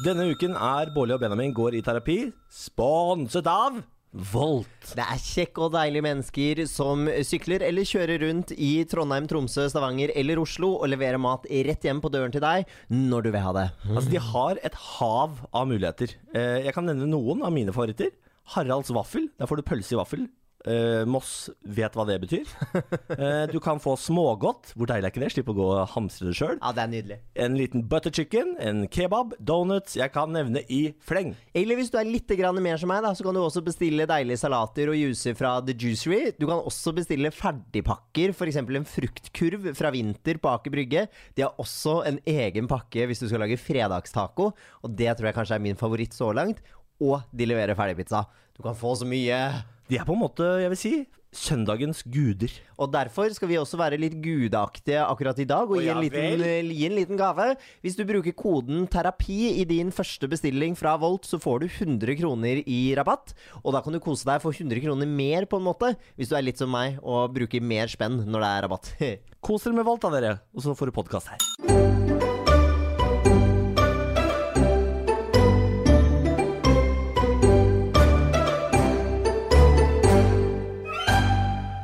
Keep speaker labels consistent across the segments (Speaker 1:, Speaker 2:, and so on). Speaker 1: Denne uken er Bårli og Benjamin går i terapi, sponset av Volt.
Speaker 2: Det er kjekke og deilige mennesker som sykler eller kjører rundt i Trondheim, Tromsø, Stavanger eller Oslo og leverer mat rett hjem på døren til deg når du vil ha det.
Speaker 1: Altså, de har et hav av muligheter. Eh, jeg kan nevne noen av mine favoritter. Haralds vaffel. Der får du pølse i vaffel. Eh, Moss vet hva det betyr. Eh, du kan få smågodt. Hvor deilig er ikke det? Slipp å gå og hamstre det sjøl.
Speaker 2: Ja, det er nydelig.
Speaker 1: En liten butter chicken, en kebab, donuts. Jeg kan nevne i fleng.
Speaker 2: Eller hvis du er litt grann mer som meg, da, så kan du også bestille deilige salater og juicer fra The Juicery. Du kan også bestille ferdigpakker, f.eks. en fruktkurv fra Vinter på Aker Brygge. De har også en egen pakke hvis du skal lage fredagstaco, og det tror jeg kanskje er min favoritt så langt. Og de leverer ferdigpizza. Du kan få så mye!
Speaker 1: De er på en måte, jeg vil si, søndagens guder.
Speaker 2: Og derfor skal vi også være litt gudeaktige akkurat i dag og
Speaker 1: Å,
Speaker 2: gi, en
Speaker 1: ja
Speaker 2: liten, eh, gi en liten gave. Hvis du bruker koden terapi i din første bestilling fra Volt, så får du 100 kroner i rabatt. Og da kan du kose deg for 100 kroner mer, på en måte, hvis du er litt som meg og bruker mer spenn når det er rabatt.
Speaker 1: Kos dere med Volt, da, dere. Og så får du podkast her.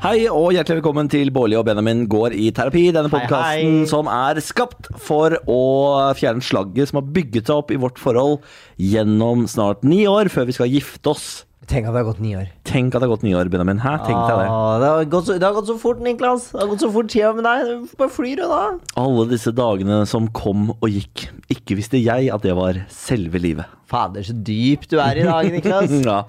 Speaker 1: Hei og hjertelig velkommen til Bårli og Benjamin går i terapi. Denne
Speaker 2: Hei,
Speaker 1: podkasten
Speaker 2: hei.
Speaker 1: som er skapt for å fjerne slagget som har bygget seg opp i vårt forhold gjennom snart ni år, før vi skal gifte oss.
Speaker 2: Tenk at det har gått ni år.
Speaker 1: Tenk at det har gått ni år, Benjamin. Hæ? Tenk deg det.
Speaker 2: Ah, det, har gått så, det har gått så fort, Niklas. Det har gått så fort tida med deg. Bare flyr du da?
Speaker 1: Alle disse dagene som kom og gikk. Ikke visste jeg at det var selve livet.
Speaker 2: Fader, så dyp du er i dag, Niklas.
Speaker 1: Ja,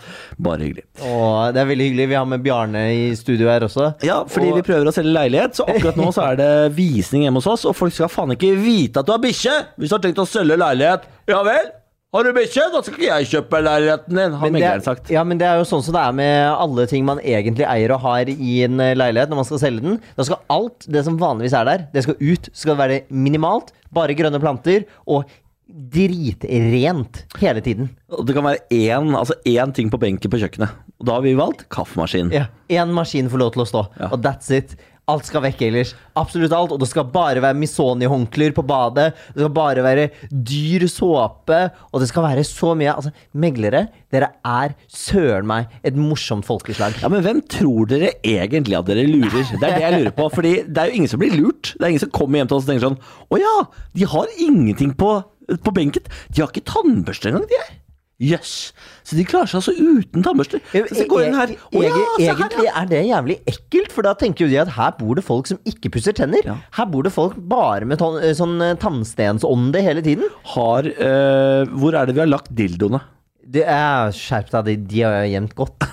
Speaker 1: bare hyggelig.
Speaker 2: Åh, det er veldig hyggelig. Vi har med Bjarne i studio her også.
Speaker 1: Ja, fordi
Speaker 2: Og-
Speaker 1: vi prøver å selge leilighet, så akkurat nå så er det visning hjemme hos oss, og folk skal faen ikke vite at du har bikkje hvis du har tenkt å selge leilighet. Ja vel? Har du bikkje? Da skal ikke jeg kjøpe leiligheten din, har
Speaker 2: Men det,
Speaker 1: megleren
Speaker 2: er,
Speaker 1: sagt.
Speaker 2: ja, men det er jo sånn som det er med alle ting man egentlig eier og har i en eh, leilighet når man skal selge den. Da skal alt det som vanligvis er der, det skal ut. Så skal det være minimalt, bare grønne planter og dritrent hele tiden.
Speaker 1: Og det kan være én, altså én ting på benken på kjøkkenet. Og da har vi valgt kaffemaskin.
Speaker 2: Ja. Én maskin får lov til å stå,
Speaker 1: Ja.
Speaker 2: og that's it. Alt skal vekk ellers. Absolutt alt. Og det skal bare være Misoni-håndklær på badet. Det skal bare være dyr såpe. Og det skal være så mye Altså, meglere, dere er søren meg et morsomt folkeslag.
Speaker 1: Ja, Men hvem tror dere egentlig at dere lurer? Det er det jeg lurer på. Fordi det er jo ingen som blir lurt. Det er ingen som kommer hjem til oss og tenker sånn Å ja, de har ingenting på, på benken. De har ikke tannbørste engang, de her. Jøss. Så de klarer seg altså uten tannbørster. Så de går inn her. Å ja,
Speaker 2: Ege-
Speaker 1: se her,
Speaker 2: egentlig
Speaker 1: ja.
Speaker 2: er det jævlig ekkelt, for da tenker jo de at her bor det folk som ikke pusser tenner.
Speaker 1: Ja.
Speaker 2: Her bor det folk bare med ton- sånn eh, tannstensånde hele tiden.
Speaker 1: Har eh, Hvor er det vi har lagt dildoene?
Speaker 2: Det er Skjerp deg, de, de har jeg gjemt godt.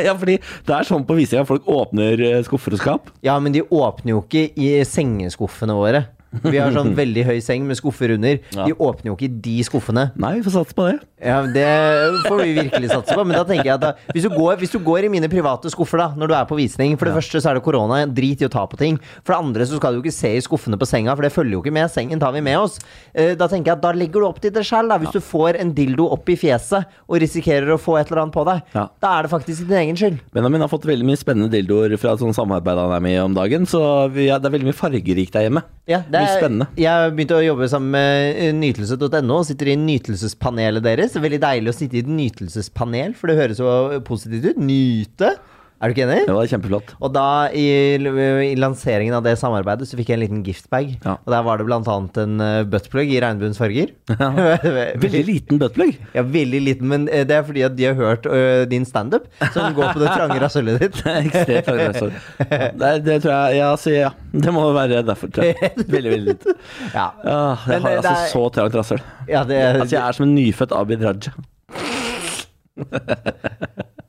Speaker 1: Ja, fordi det er sånn på visninga at folk åpner eh, skuffer og skap.
Speaker 2: Ja, men de åpner jo ikke i sengeskuffene våre. Vi har sånn veldig høy seng med skuffer under. De åpner jo ikke de skuffene.
Speaker 1: Nei, vi får satse på det.
Speaker 2: Ja, men Det får vi virkelig satse på. Men da tenker jeg at da, hvis, du går, hvis du går i mine private skuffer da når du er på visning For det første så er det korona, drit i å ta på ting. For det andre så skal du jo ikke se i skuffene på senga, for det følger jo ikke med. Sengen tar vi med oss. Eh, Da tenker jeg at da legger du opp til det selv da. Hvis du får en dildo opp i fjeset og risikerer å få et eller annet på deg,
Speaker 1: Ja.
Speaker 2: da er det faktisk din egen skyld.
Speaker 1: Benjamin har fått veldig mye spennende dildoer fra et sånt samarbeid han er med i om dagen. Så vi, ja, det er veldig mye fargerikt der hjemme.
Speaker 2: Ja, det
Speaker 1: mye
Speaker 2: er,
Speaker 1: spennende.
Speaker 2: jeg har begynt å jobbe sammen med eh, nytelse.no og sitter i nytelsespanelet deres. Det er Veldig deilig å sitte i et nytelsespanel, for det høres jo positivt ut. Nyte. Er du ikke enig?
Speaker 1: Det var kjempeflott.
Speaker 2: Og da, i, i lanseringen av det samarbeidet, så fikk jeg en liten giftbag.
Speaker 1: Ja.
Speaker 2: Og der var det blant annet en eh, buttplug i regnbuens farger. veldig,
Speaker 1: Veldig liten buttplug.
Speaker 2: ja, veldig liten, men eh, det er fordi at de har hørt eh, din standup, som går på det trange rasshølet ditt.
Speaker 1: Ekstremt fragmentar. Det, er- det tror jeg Ja, sier ja. Det må være derfor, tror jeg. Veldig, veldig lite.
Speaker 2: Ja,
Speaker 1: Ah, jeg
Speaker 2: Men eh,
Speaker 1: har
Speaker 2: det- det
Speaker 1: altså
Speaker 2: er-
Speaker 1: så Altså, trangt rasshøl.
Speaker 2: ja, det,
Speaker 1: Altså, jeg er som en nyfødt Abid Raja.
Speaker 2: ja,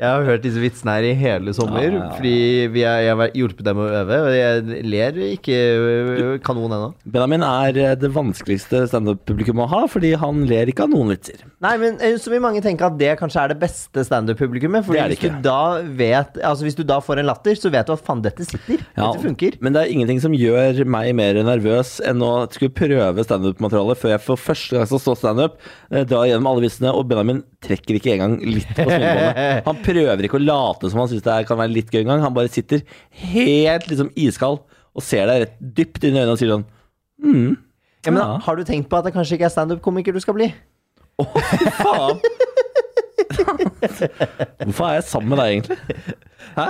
Speaker 2: Jeg har hørt disse vitsene her i hele sommer, fordi vi er, jeg har vært- hjulpet dem å øve. Og jeg ler ikke øh, kanon ennå.
Speaker 1: Benjamin er eh, det vanskeligste standup-publikum å ha, fordi han ler ikke av noen vitser.
Speaker 2: Nei, men eh, så vil mange tenke at det kanskje er det beste standup-publikummet. For
Speaker 1: Det er det
Speaker 2: hvis, du
Speaker 1: ikke.
Speaker 2: da vet- altså hvis du da får en latter, så vet du at faen, dette sitter.
Speaker 1: Ja,
Speaker 2: Dette funker.
Speaker 1: Men det er ingenting som gjør meg mer nervøs enn å skulle prøve standup-materialet før jeg for første gang skal stå standup, eh, dra gjennom alle vitsene, og Benjamin trekker ikke engang litt på smilebåndet. Han prøver ikke å late som han syns det er, kan være litt gøy engang. Han bare sitter helt liksom iskald og ser deg rett dypt inn i øynene og sier sånn
Speaker 2: Ja, men
Speaker 1: Ja.
Speaker 2: da, har du tenkt på at det kanskje ikke er standup-komiker du skal bli?
Speaker 1: Å, fy faen! Hvorfor er jeg sammen med deg, egentlig? Hæ?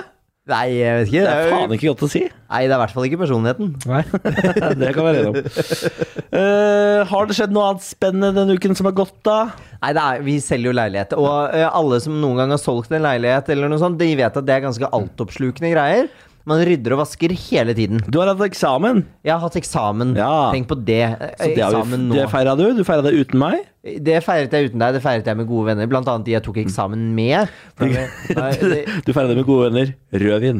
Speaker 2: Nei, jeg vet ikke.
Speaker 1: Det er faen ikke godt å si.
Speaker 2: Nei, det er i hvert fall ikke personligheten.
Speaker 1: Nei, det kan være enig om. Eh, har det skjedd noe annet spennende denne uken som har gått, da?
Speaker 2: Nei, det er, vi selger jo leilighet. Og eh, alle som noen gang har solgt en leilighet, eller noe sånt, de vet at det er ganske altoppslukende greier. Man rydder og vasker hele tiden.
Speaker 1: Du har hatt eksamen,
Speaker 2: Jeg har hatt eksamen.
Speaker 1: Ja.
Speaker 2: Tenk på det. eh,
Speaker 1: så det, har vi-
Speaker 2: eksamen nå.
Speaker 1: det feira du. Du feira det uten meg.
Speaker 2: Det feiret jeg uten deg, det feiret jeg med gode venner. Blant annet de jeg tok
Speaker 1: Mm.
Speaker 2: eksamen med. For det- Nei, det-
Speaker 1: Du feira det med gode venner. Rødvin.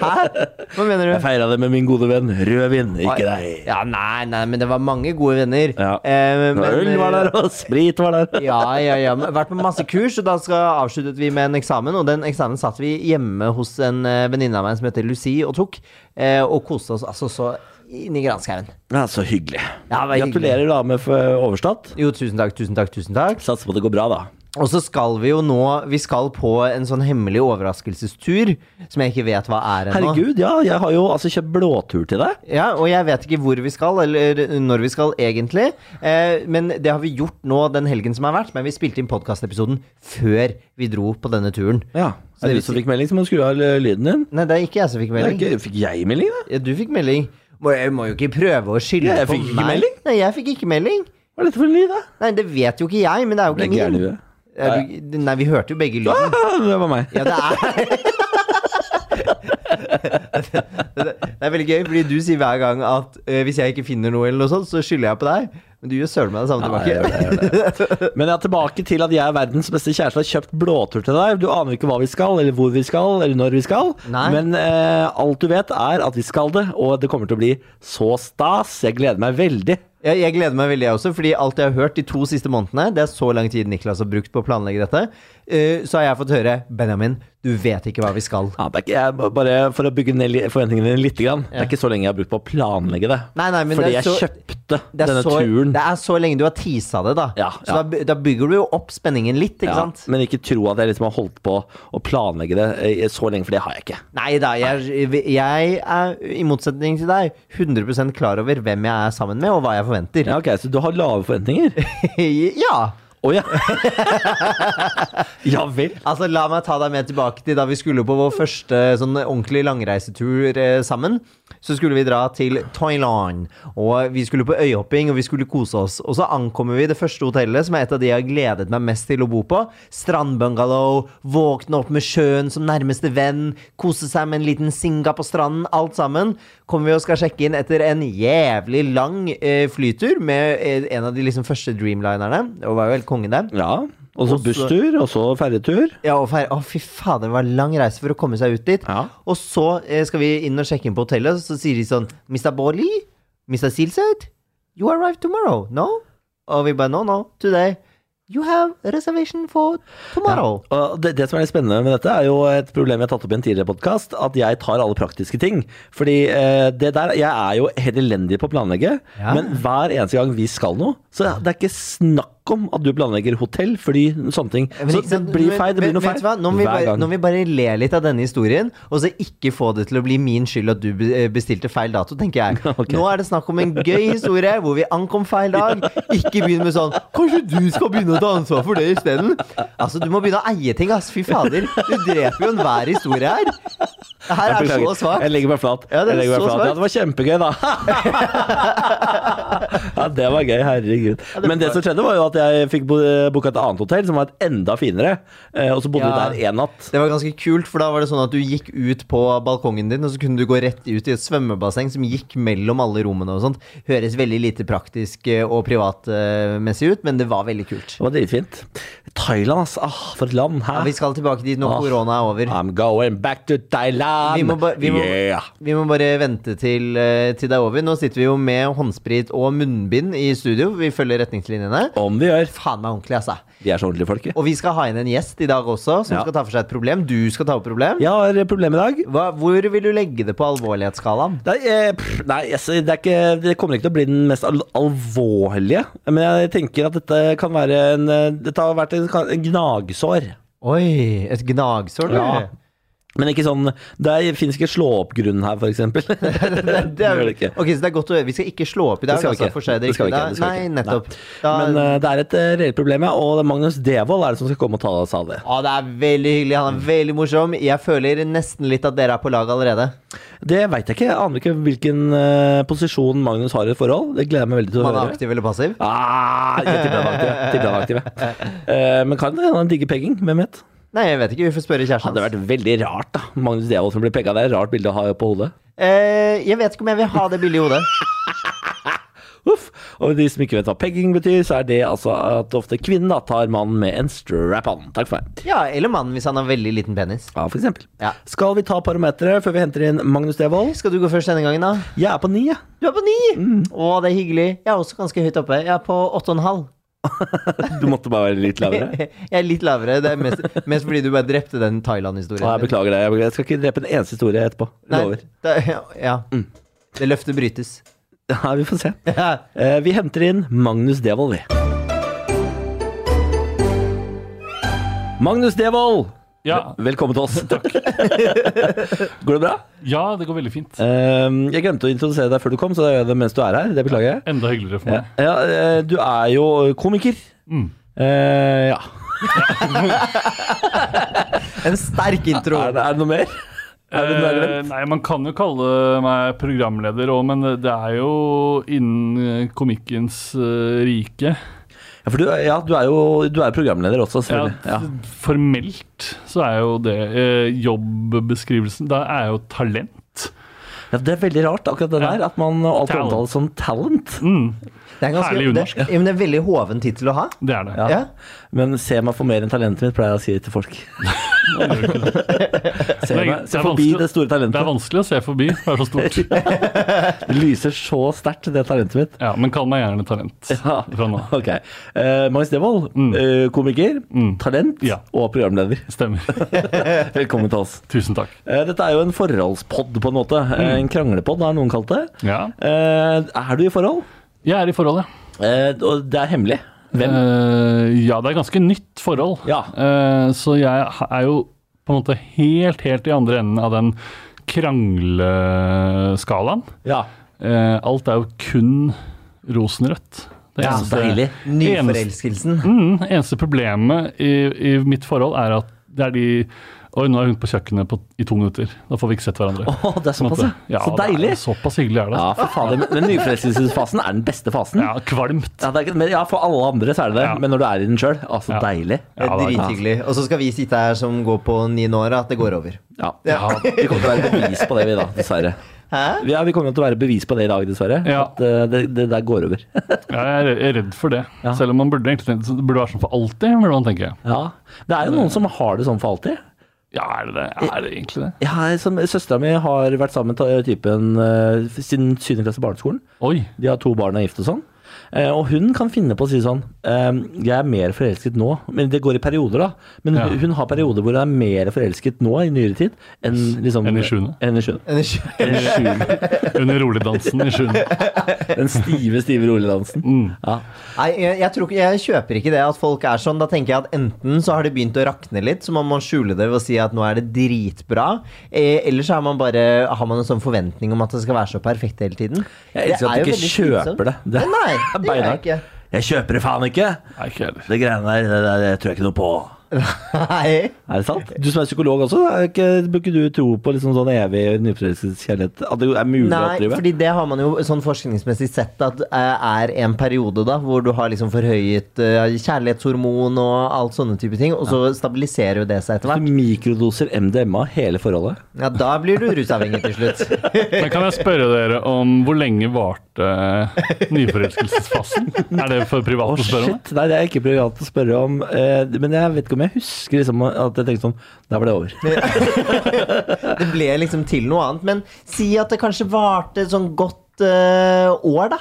Speaker 2: Hæ? Hva mener
Speaker 1: Jeg
Speaker 2: du?
Speaker 1: feira det med min gode venn. Rødvin, ikke deg.
Speaker 2: Ja, nei, nei, men det var mange gode venner.
Speaker 1: Ja.
Speaker 2: Eh, men- eh,
Speaker 1: Øl var der, og sprit var der.
Speaker 2: Ja, ja, ja. Men Vært på masse kurs, og da skal avsluttet vi med en eksamen. Og den eksamen satt vi hjemme hos en eh, venninne av meg som heter Lucie, og tok. eh, Og koste oss altså så inn i granskauen.
Speaker 1: Ja, så altså, hyggelig.
Speaker 2: Ja, det var hyggelig.
Speaker 1: Gratulerer da med for overstått.
Speaker 2: Jo, tusen takk, tusen takk, tusen takk.
Speaker 1: Satser på det går bra, da.
Speaker 2: Og så skal vi jo nå Vi skal på en sånn hemmelig overraskelsestur som jeg ikke vet hva er ennå.
Speaker 1: Herregud, ja. Jeg har jo altså kjøpt blåtur til deg.
Speaker 2: Ja, og jeg vet ikke hvor vi skal, eller når vi skal egentlig. Eh, men det har vi gjort nå den helgen som har vært. Men vi spilte inn podkastepisoden før vi dro på denne turen.
Speaker 1: Ja.
Speaker 2: Så
Speaker 1: Er det
Speaker 2: det vil
Speaker 1: du som fikk melding, så må du skru av l- lyden din.
Speaker 2: Nei, det er ikke jeg som fikk
Speaker 1: Det er
Speaker 2: melding.
Speaker 1: ikke, fikk jeg melding, da?
Speaker 2: Ja, du fikk melding. Må, jeg må jo ikke prøve å skylde
Speaker 1: Ja, jeg
Speaker 2: på
Speaker 1: fikk ikke
Speaker 2: meg.
Speaker 1: melding.
Speaker 2: Nei, jeg fikk ikke melding.
Speaker 1: Hva er dette for en lyd, da?
Speaker 2: Nei, det vet jo ikke jeg, men det er jo
Speaker 1: Ble
Speaker 2: ikke
Speaker 1: gæren i
Speaker 2: min.
Speaker 1: huet.
Speaker 2: Er du, nei, vi hørte jo begge lyden.
Speaker 1: Ah, Det var meg.
Speaker 2: Ja, det er Det er veldig gøy, fordi du sier hver gang at eh, hvis jeg ikke finner noe, eller noe sånt, så skylder jeg på deg. Men du gjør søren meg det samme
Speaker 1: Ja,
Speaker 2: tilbake.
Speaker 1: jeg gjør det, jeg gjør det. Men jeg er tilbake til at jeg er verdens beste kjæreste og har kjøpt blåtur til deg. Du aner ikke hva vi skal, eller hvor vi skal, eller når vi skal.
Speaker 2: Nei.
Speaker 1: Men eh, alt du vet, er at vi skal det, og det kommer til å bli så stas. Jeg gleder meg veldig.
Speaker 2: Jeg, jeg gleder meg veldig, jeg også, fordi alt jeg har hørt de to siste månedene Det er så lang tid Niklas har brukt på å planlegge dette. eh, så har jeg fått høre Benjamin, du vet ikke hva vi skal.
Speaker 1: Ja, det er ikke, jeg, bare for å bygge ned li- forventningene dine litt. Grann. Det er ikke så lenge jeg har brukt på å planlegge det.
Speaker 2: Nei, nei, men
Speaker 1: Fordi
Speaker 2: det er
Speaker 1: jeg
Speaker 2: så-
Speaker 1: kjøpte
Speaker 2: Det er,
Speaker 1: denne
Speaker 2: så,
Speaker 1: turen.
Speaker 2: det er så lenge du har teasa det, da.
Speaker 1: Ja,
Speaker 2: Så
Speaker 1: ja.
Speaker 2: da, by- da bygger du jo opp spenningen litt, ikke
Speaker 1: Ja,
Speaker 2: sant?
Speaker 1: men ikke tro at jeg liksom har holdt på å planlegge det eh, så lenge, for det har jeg ikke.
Speaker 2: Nei da, jeg, jeg er i motsetning til deg 100 klar over hvem jeg er sammen med, og hva jeg forventer.
Speaker 1: Ja, ok, Så du har lave forventninger?
Speaker 2: ja.
Speaker 1: Å ja. ja vel.
Speaker 2: Altså, La meg ta deg med tilbake til da vi skulle på vår første sånn ordentlig langreisetur eh, sammen. Så skulle vi dra til Thailand, og vi skulle på øyhopping og vi skulle kose oss. Og så ankommer vi det første hotellet, som er et av de jeg har gledet meg mest til å bo på. Strandbungalow, våkne opp med sjøen som nærmeste venn, kose seg med en liten singa på stranden, alt sammen. Kommer vi og skal sjekke inn etter en jævlig lang eh, flytur med eh, en av de liksom første dreamlinerne. Det var jo helt konge, det.
Speaker 1: Ja, og så
Speaker 2: Også-
Speaker 1: busstur, og så ferjetur.
Speaker 2: Ja, og fer- Å, fy fader, det var lang reise for å komme seg ut dit.
Speaker 1: Ja.
Speaker 2: Og så eh, skal vi inn og sjekke inn på hotellet, og så sier de sånn Mr. Borley? Mr. Silseth? You arrive tomorrow, no? Og vi bare no, no, today. You have reservation for tomorrow.
Speaker 1: Og det, det som er litt spennende med dette, er jo et problem jeg har tatt opp i en tidligere podkast, at jeg tar alle praktiske ting. Fordi eh, det der Jeg er jo helt elendig på å planlegge,
Speaker 2: Ja.
Speaker 1: men hver eneste gang vi skal noe, så det er ikke snakk om at du planlegger hotell, fly, sånne ting.
Speaker 2: Men
Speaker 1: Så
Speaker 2: ikke
Speaker 1: det
Speaker 2: sant,
Speaker 1: blir
Speaker 2: men-
Speaker 1: feil. Det
Speaker 2: men-
Speaker 1: blir noe
Speaker 2: vet
Speaker 1: feil
Speaker 2: du hva? Nå må, vi
Speaker 1: hver
Speaker 2: bare, nå
Speaker 1: gang.
Speaker 2: må vi bare le litt av denne historien, og så ikke få det til å bli min skyld at du be- eh, bestilte feil dato, tenker jeg.
Speaker 1: Ok.
Speaker 2: Nå er det snakk om en gøy historie hvor vi ankom feil dag. Ikke begynn med sånn 'Kanskje du skal begynne å ta ansvar for det isteden'? Altså, du må begynne å eie ting, ass. Fy fader. Du dreper jo enhver historie her. Det her er
Speaker 1: Beklager.
Speaker 2: så svakt.
Speaker 1: Jeg legger meg flat.
Speaker 2: Ja, det
Speaker 1: Jeg
Speaker 2: er
Speaker 1: legger meg
Speaker 2: så
Speaker 1: flat.
Speaker 2: svakt.
Speaker 1: ja, det var kjempegøy, da. ja, det var gøy. Herregud. Herregud. Men det som skjedde, var jo at jeg fikk bo- booka et annet hotell, som var et enda finere. eh, Og så bodde
Speaker 2: Ja.
Speaker 1: vi der en natt.
Speaker 2: Det var ganske kult, for da var det sånn at du gikk ut på balkongen din, og så kunne du gå rett ut i et svømmebasseng som gikk mellom alle rommene og sånt. Høres veldig lite praktisk eh, og privatmessig ut, men det var veldig kult.
Speaker 1: Det var dritfint. Thailand, ass. Ah, for et land.
Speaker 2: Ja,
Speaker 1: Hæ?
Speaker 2: vi skal tilbake dit når
Speaker 1: Ah.
Speaker 2: korona er over.
Speaker 1: I'm going back to Thailand!
Speaker 2: Vi må, ba vi, må,
Speaker 1: Yeah!
Speaker 2: vi må bare vente til, eh, til det er over. Nå sitter vi jo med håndsprit og munnbind i studio. Vi følger retningslinjene.
Speaker 1: Om vi gjør.
Speaker 2: Faen meg ordentlig, altså.
Speaker 1: Vi er så ordentlige folk. vi.
Speaker 2: Og vi skal ha inn en gjest i dag også, som
Speaker 1: Ja.
Speaker 2: skal ta for seg et problem. Du skal ta opp problem.
Speaker 1: Jeg har et problem i dag.
Speaker 2: Hva, hvor vil du legge det på alvorlighetsskalaen?
Speaker 1: Nei, eh, pff, nei yes, det, er ikke, det kommer ikke til å bli den mest al alvorlige. Men jeg tenker at dette kan være en eh, Dette har vært en, en gnagsår.
Speaker 2: Oi, et gnagsår, du.
Speaker 1: Ja. Men ikke sånn Det fins ikke slå-opp-grunn her, f.eks.
Speaker 2: Det, det er,
Speaker 1: gjør det ikke.
Speaker 2: ok, så det er godt å høre. Vi skal ikke slå opp i dag.
Speaker 1: Det skal vi
Speaker 2: altså,
Speaker 1: ikke.
Speaker 2: for seg,
Speaker 1: Det skal vi
Speaker 2: ikke.
Speaker 1: ikke, det skal vi
Speaker 2: Nei,
Speaker 1: ikke.
Speaker 2: nettopp.
Speaker 1: Nei.
Speaker 2: Da,
Speaker 1: Men eh, det er et eh, reelt problem, ja. Og det er Magnus Devold er det som skal komme og ta seg av det.
Speaker 2: å, det er veldig hyggelig. Han
Speaker 1: Mm.
Speaker 2: er veldig morsom. Jeg føler nesten litt at dere er på lag allerede.
Speaker 1: Det veit jeg ikke. Jeg aner ikke hvilken eh, posisjon Magnus har i et forhold. Det gleder jeg meg veldig til å
Speaker 2: Man er
Speaker 1: høre.
Speaker 2: aktiv eller passiv.
Speaker 1: Ah, jeg tipper han er aktiv. jeg tipper han er aktiv, jeg. Eh, men kan det hende han digger pegging? Hvem vet?
Speaker 2: Nei, jeg vet ikke. Vi får spørre kjæresten
Speaker 1: Hadde
Speaker 2: hans.
Speaker 1: vært veldig rart, da. Magnus Devold som blir pegga. Det er et rart bilde å ha på hodet.
Speaker 2: Eh, jeg vet ikke om jeg vil ha det bildet i hodet.
Speaker 1: Uff. Og de som ikke vet hva pegging betyr, så er det altså at ofte kvinnen da tar mannen med en strap-on. Takk for meg.
Speaker 2: Ja, Eller mannen, hvis han har veldig liten penis.
Speaker 1: Ja, for eksempel.
Speaker 2: Ja.
Speaker 1: Skal vi ta parometeret før vi henter inn Magnus Devold?
Speaker 2: Skal du gå først denne gangen, da?
Speaker 1: Jeg er på ni, jeg.
Speaker 2: Du er på ni!
Speaker 1: Mm.
Speaker 2: Å, det er hyggelig. Jeg er også ganske høyt oppe. Jeg er på åtte og en halv.
Speaker 1: Du måtte bare være litt lavere.
Speaker 2: Jeg er litt lavere. Det er mest, mest fordi du bare drepte den Thailand-historien.
Speaker 1: Å, jeg beklager det. Jeg beklager. Jeg skal ikke drepe en eneste historie etterpå.
Speaker 2: Nei,
Speaker 1: Lover.
Speaker 2: det, ja. Det løftet brytes.
Speaker 1: Ja, vi får se. Eh, Vi henter inn Magnus Devold, vi. Magnus Devold!
Speaker 3: Ja.
Speaker 1: Vel- Velkommen til oss. Takk. Går det bra?
Speaker 3: ja, det går veldig fint.
Speaker 1: Ehm, Jeg glemte å introdusere deg før du kom, så da gjør jeg det mens du er her. Det beklager jeg.
Speaker 3: Enda hyggeligere for
Speaker 1: Ja,
Speaker 3: meg.
Speaker 1: ja, eh, du er jo komiker.
Speaker 3: Mm.
Speaker 1: Eh, ja.
Speaker 2: En sterk intro.
Speaker 1: Er det, er det noe mer? Er det noe jeg har
Speaker 3: Eh,
Speaker 1: glemt?
Speaker 3: nei, man kan jo kalle meg programleder òg, men det er jo innen eh, komikkens eh, rike.
Speaker 1: Ja, for du, ja, du er jo du er programleder også,
Speaker 3: Ja,
Speaker 1: selvfølgelig. Ja.
Speaker 3: formelt så er jo det eh, jobbbeskrivelsen Da er jo talent.
Speaker 1: Ja, det er veldig rart, akkurat det
Speaker 3: Ja.
Speaker 1: der. At man alltid
Speaker 3: Talent.
Speaker 1: omtales som talent.
Speaker 2: Det er ganske,
Speaker 3: Herlig
Speaker 2: det,
Speaker 3: unorsk.
Speaker 2: ja, men det er veldig hoven tittel å ha.
Speaker 3: Det er det.
Speaker 1: Ja.
Speaker 2: Ja.
Speaker 1: Men se meg for mer enn talentet mitt, pleier jeg å si til folk. se
Speaker 3: Det er-
Speaker 1: meg,
Speaker 3: det
Speaker 1: se forbi
Speaker 3: er vanskelig-
Speaker 1: det store
Speaker 3: Det er
Speaker 1: talentet.
Speaker 3: vanskelig å se forbi, det er så stort.
Speaker 1: Det lyser så sterkt, det talentet mitt.
Speaker 3: Ja, men kall meg gjerne talent
Speaker 1: Ja.
Speaker 3: fra nå. Mm.
Speaker 1: Ok. Eh, Magnus Devold, eh, komiker, talent
Speaker 3: Ja.
Speaker 1: og programleder.
Speaker 3: Stemmer.
Speaker 1: Velkommen til oss.
Speaker 3: Tusen takk.
Speaker 1: Eh, dette er jo en forholdspod, på en måte. Eh, en kranglepod, har noen kalt det.
Speaker 3: Mm. Ja.
Speaker 1: Eh, er du i forhold?
Speaker 3: Jeg er i forhold, ja.
Speaker 1: Eh, og det er hemmelig. Hvem?
Speaker 3: Eh, ja, det er ganske nytt forhold.
Speaker 1: Ja.
Speaker 3: Eh, så jeg ha- er jo på en måte helt, helt i andre enden av den krangleskalaen.
Speaker 1: ja.
Speaker 3: Eh, alt er jo kun rosenrødt. Det
Speaker 1: Ja, så deilig.
Speaker 2: Nyforelskelsen.
Speaker 3: Mm, eneste problemet i, i mitt forhold er at det er de Oi, nå er hun på kjøkkenet på, i to minutter. Da får vi ikke sett hverandre.
Speaker 1: Å, det er
Speaker 3: På en
Speaker 1: såpass,
Speaker 3: måte.
Speaker 1: ja. Så
Speaker 3: det er
Speaker 1: deilig.
Speaker 3: Såpass hyggelig er det.
Speaker 1: Ja, for faen. Men men nyforelskelsesfasen er den beste fasen.
Speaker 3: Ja, kvalmt.
Speaker 1: Ja, det er, ikke- men, ja, for alle andre så er det det,
Speaker 3: Ja.
Speaker 1: men når du er i den sjøl, altså
Speaker 3: Ja.
Speaker 1: deilig.
Speaker 2: Det er
Speaker 3: Ja, det er-
Speaker 2: Drithyggelig. Og så skal vi sitte her som går på niende år, at det går over.
Speaker 1: Ja.
Speaker 3: Ja.
Speaker 1: Vi kommer til å være bevis på det, vi da, dessverre.
Speaker 2: Hæ?
Speaker 1: Ja, vi kommer til å være bevis på det i dag, dessverre.
Speaker 3: Ja.
Speaker 1: At eh, det, det der går over.
Speaker 3: Ja, jeg er re- jeg er redd for det.
Speaker 1: Ja.
Speaker 3: Selv om man burde egentlig tenke, så det burde være sånn for alltid. burde man tenke.
Speaker 1: Ja. Det er jo noen som har det sånn for alltid.
Speaker 3: Ja, er det det? Er det egentlig det?
Speaker 1: Ja, som Søstera mi har vært sammen med typen eh, siden 7. klasse barneskolen.
Speaker 3: Oi.
Speaker 1: De har to barn og er gift og sånn. Eh, og hun kan finne på å si sånn eh, Jeg er mer forelsket nå. Men det går i perioder, da. Men
Speaker 3: Ja.
Speaker 1: hun- hun har perioder hvor hun er mer forelsket nå i nyere tid enn liksom
Speaker 3: Enn i sjuende.
Speaker 1: Enn i sjuende.
Speaker 3: Under sjuende. Under roligdansen i sjuende.
Speaker 1: Den stive, stive roligdansen. Ja.
Speaker 2: Nei, jeg, jeg, tror, ikke- jeg kjøper ikke det at folk er sånn. Da tenker jeg at enten så har det begynt å rakne litt, så man må skjule det ved å si at nå er det dritbra. Eh, eller så er man bare, har man en sånn forventning om at det skal være så perfekt hele tiden.
Speaker 1: Jeg elsker at du ikke kjøper det. det
Speaker 2: Nei, det gjør jeg
Speaker 1: beinhardt.
Speaker 2: ikke.
Speaker 1: Jeg kjøper det faen ikke!
Speaker 3: Nei, ikke heller.
Speaker 1: Det greiene der, det, det, det tror jeg ikke noe på.
Speaker 2: Nei.
Speaker 1: Er det sant? Du som er psykolog også, er ikke, bør ikke du tro på liksom sånn evig nyforelskelseskjærlighet? At det er mulig å
Speaker 2: Nei,
Speaker 1: oppdrive?
Speaker 2: fordi det har man jo sånn forskningsmessig sett at eh, er en periode da hvor du har liksom forhøyet eh, kjærlighetshormon og alt sånne type ting, og så stabiliserer jo det seg etter
Speaker 1: Så
Speaker 2: hvert.
Speaker 1: mikrodoser MDMA hele forholdet?
Speaker 2: Ja, da blir du rusavhengig til slutt.
Speaker 3: Men kan jeg spørre dere om hvor lenge varte eh, nyforelskelsesfasen? Er det for privat å spørre om? det?
Speaker 1: Shit, nei, det er ikke privat å spørre om. eh, Men jeg vet ikke om jeg husker liksom at jeg tenkte sånn Der var det over.
Speaker 2: Det ble liksom til noe annet. Men si at det kanskje varte et sånn godt eh, år, da.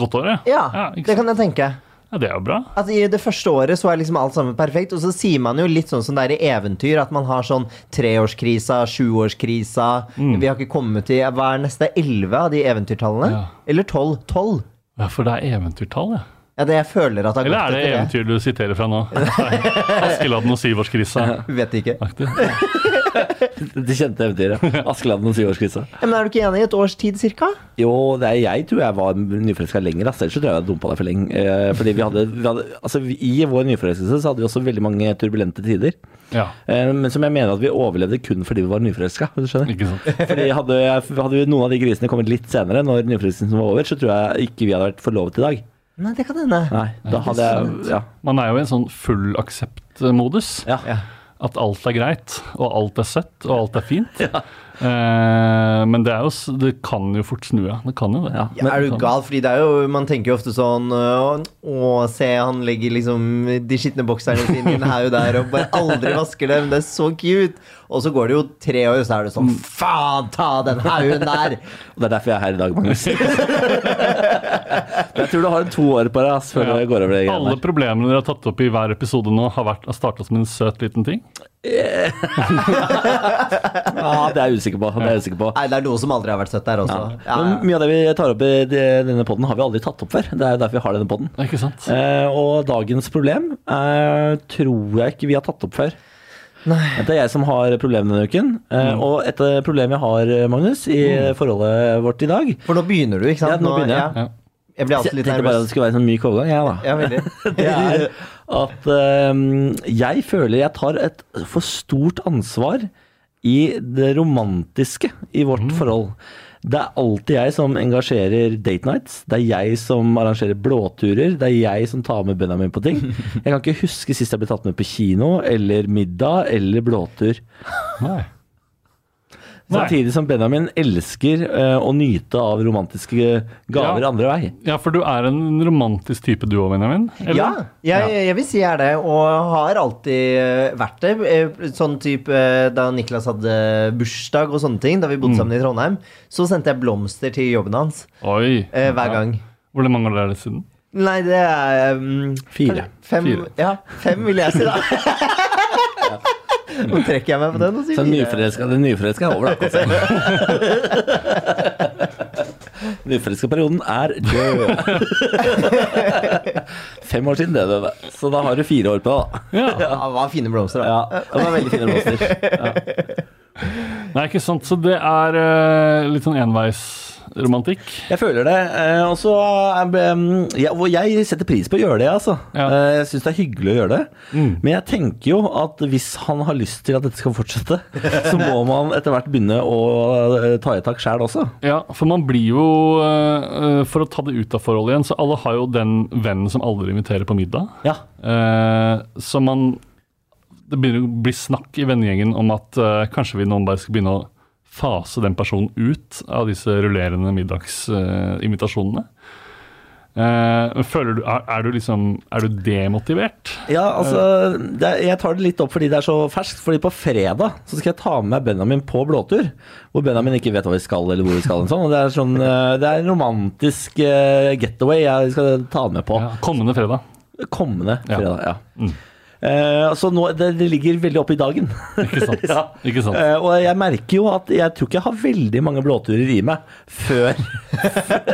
Speaker 3: Godt år, ja?
Speaker 2: Ja, det
Speaker 3: ikke sant?
Speaker 2: kan jeg tenke.
Speaker 3: ja det er jo bra.
Speaker 2: At I det første året så er liksom alt sammen perfekt, og så sier man jo litt sånn som det er i eventyr, at man har sånn treårskrisa, sjuårskrisa
Speaker 3: Mm.
Speaker 2: Vi har ikke kommet til Hva er neste? Elleve av de eventyrtallene?
Speaker 3: Ja.
Speaker 2: Eller tolv? Tolv?
Speaker 3: Ja, For det er eventyrtall, ja.
Speaker 2: Ja, det jeg føler at det har
Speaker 3: Eller
Speaker 2: gått
Speaker 3: er
Speaker 2: etter
Speaker 3: det
Speaker 2: det.
Speaker 3: eventyr du siterer fra nå? Askeladden og syvårskrisa.
Speaker 2: Vet ikke. Ja,
Speaker 3: aktig.
Speaker 1: Det kjente eventyret. Askeladden og syvårskrisa.
Speaker 2: Men er du ikke enig? Et års tid cirka?
Speaker 1: Jo, det er, jeg tror jeg var nyforelska lenger. ass. Ellers så tror jeg jeg dumpa deg for lenge. Eh, fordi vi hadde, vi hadde Altså, vi, i vår nyforelskelse så hadde vi også veldig mange turbulente tider.
Speaker 3: Ja,
Speaker 1: Eh, Men som jeg mener at vi overlevde kun fordi vi var nyforelska. hvis du skjønner.
Speaker 3: ikke sant.
Speaker 1: Fordi hadde, hadde vi- noen av de grisene kommet litt senere, når nyforelskelsen var over, så tror jeg ikke vi hadde vært forlovet i dag.
Speaker 2: Nei, det kan hende.
Speaker 1: Nei, da hadde jeg Ja.
Speaker 3: Man er jo i en sånn full aksept-modus.
Speaker 1: ja.
Speaker 2: Ja.
Speaker 3: At alt er greit, og alt er søtt, og alt er fint. Eh, men det, er jo, s- det kan jo fort snu, ja. Det kan jo det.
Speaker 1: Ja.
Speaker 2: Ja, er du gal? Fordi det er jo, man tenker jo ofte sånn øh, Å, se, han legger liksom de skitne bokserne sine inn her og der og bare aldri vasker dem. Det er så cute. Og så går det jo tre år, og så er det
Speaker 1: Mm.
Speaker 2: sånn Faen ta den haugen der!
Speaker 1: Og det er derfor jeg er her i dag, Magnus. jeg tror du har to år på deg ass, før
Speaker 3: Ja.
Speaker 1: det går over det
Speaker 3: Alle
Speaker 1: greiene der.
Speaker 3: problemene dere har tatt opp i hver episode nå, har, vært- har starta som en søt liten ting.
Speaker 1: Ja, det er jeg usikker på. Det er jeg usikker på.
Speaker 2: Nei, det er noe som aldri har vært søtt der også. Ja,
Speaker 1: Men
Speaker 2: ja.
Speaker 1: mye av det vi tar opp i de- denne podden har vi aldri tatt opp før. Det er jo derfor vi har denne podden.
Speaker 3: Ikke sant?
Speaker 1: Eh, og dagens problem eh, tror jeg ikke vi har tatt opp før. Det er jeg som har problemet denne uken. Eh,
Speaker 2: Mm.
Speaker 1: Og et eh, problem jeg har, Magnus, i forholdet vårt i dag
Speaker 2: For nå begynner du, ikke sant?
Speaker 1: Ja, nå begynner jeg.
Speaker 2: ja.
Speaker 3: Ja.
Speaker 2: Jeg blir
Speaker 1: Jeg
Speaker 2: alltid litt
Speaker 1: tenkte bare at det
Speaker 2: nervøs.
Speaker 1: skulle være en sånn myk overgang, jeg, da.
Speaker 2: Ja, veldig.
Speaker 1: Det er at øhm, jeg føler jeg tar et for stort ansvar i det romantiske i vårt forhold. Det er alltid jeg som engasjerer date nights. Det er jeg som arrangerer blåturer. Det er jeg som tar med Benjamin på ting. Jeg kan ikke huske sist jeg ble tatt med på kino eller middag eller blåtur.
Speaker 3: Nei. Nei.
Speaker 1: Samtidig som Benjamin elsker øh, å nyte av romantiske gaver
Speaker 3: Ja.
Speaker 1: andre vei.
Speaker 3: Ja, for du er en romantisk type du òg, Benjamin? eller?
Speaker 2: Ja, jeg, jeg vil si jeg er det, og har alltid eh, vært det. Eh, Sånn type eh, da Niklas hadde bursdag og sånne ting, da vi
Speaker 3: Mm.
Speaker 2: bodde sammen i Trondheim, så sendte jeg blomster til jobben hans
Speaker 3: Oi.
Speaker 2: eh, hver gang.
Speaker 3: Hvor mange år er det siden?
Speaker 2: Nei, det er mm,
Speaker 1: Fire.
Speaker 2: Fem,
Speaker 3: Fire.
Speaker 2: Ja, fem vil jeg si, da. Nå trekker jeg meg på den og sier
Speaker 1: Så
Speaker 2: fire.
Speaker 1: nyforelska, den nyforelska er over, da. altså. kan jeg si. Nyforelska perioden er død. Fem år siden det døde. Så da har du fire år på deg, da.
Speaker 3: Ja.
Speaker 2: Ja, det var fine blomster, da.
Speaker 1: Ja, det var veldig fine blomster.
Speaker 3: Nei, ikke sant. Så det er eh, litt sånn enveisromantikk.
Speaker 1: Jeg føler det. eh, Og så eh, ja, og jeg setter pris på å gjøre det, altså.
Speaker 3: Ja.
Speaker 1: Eh, Jeg syns det er hyggelig å gjøre det. Men jeg tenker jo at hvis han har lyst til at dette skal fortsette, så må man etter hvert begynne å eh, ta i et tak sjæl også.
Speaker 3: Ja, for man blir jo eh, eh, For å ta det ut av forholdet igjen, så alle har jo den vennen som aldri inviterer på middag.
Speaker 1: Ja.
Speaker 3: Eh, så man Det begynner å bli snakk i vennegjengen om at eh, kanskje vi noen bare skal begynne å fase den personen ut av disse rullerende eh, middagsinvitasjonene. Eh, føler du, er, er du liksom Er du demotivert?
Speaker 1: Ja, altså, det, er- jeg tar det litt opp fordi det er så ferskt. Fordi på fredag så skal jeg ta med meg Benjamin på blåtur. Hvor Benjamin ikke vet hva vi skal eller hvor vi skal. Og sånn, og det, er sånn, eh, det er en romantisk eh, getaway jeg skal ta han med på.
Speaker 3: Ja, kommende fredag.
Speaker 1: Kommende fredag, ja.
Speaker 3: Mm.
Speaker 1: Eh, så nå, det, det ligger veldig opp i dagen.
Speaker 3: Ikke sant?
Speaker 1: Ja.
Speaker 3: Ikke sant?
Speaker 1: Eh, og jeg merker jo at jeg tror ikke jeg har veldig mange blåturer i meg før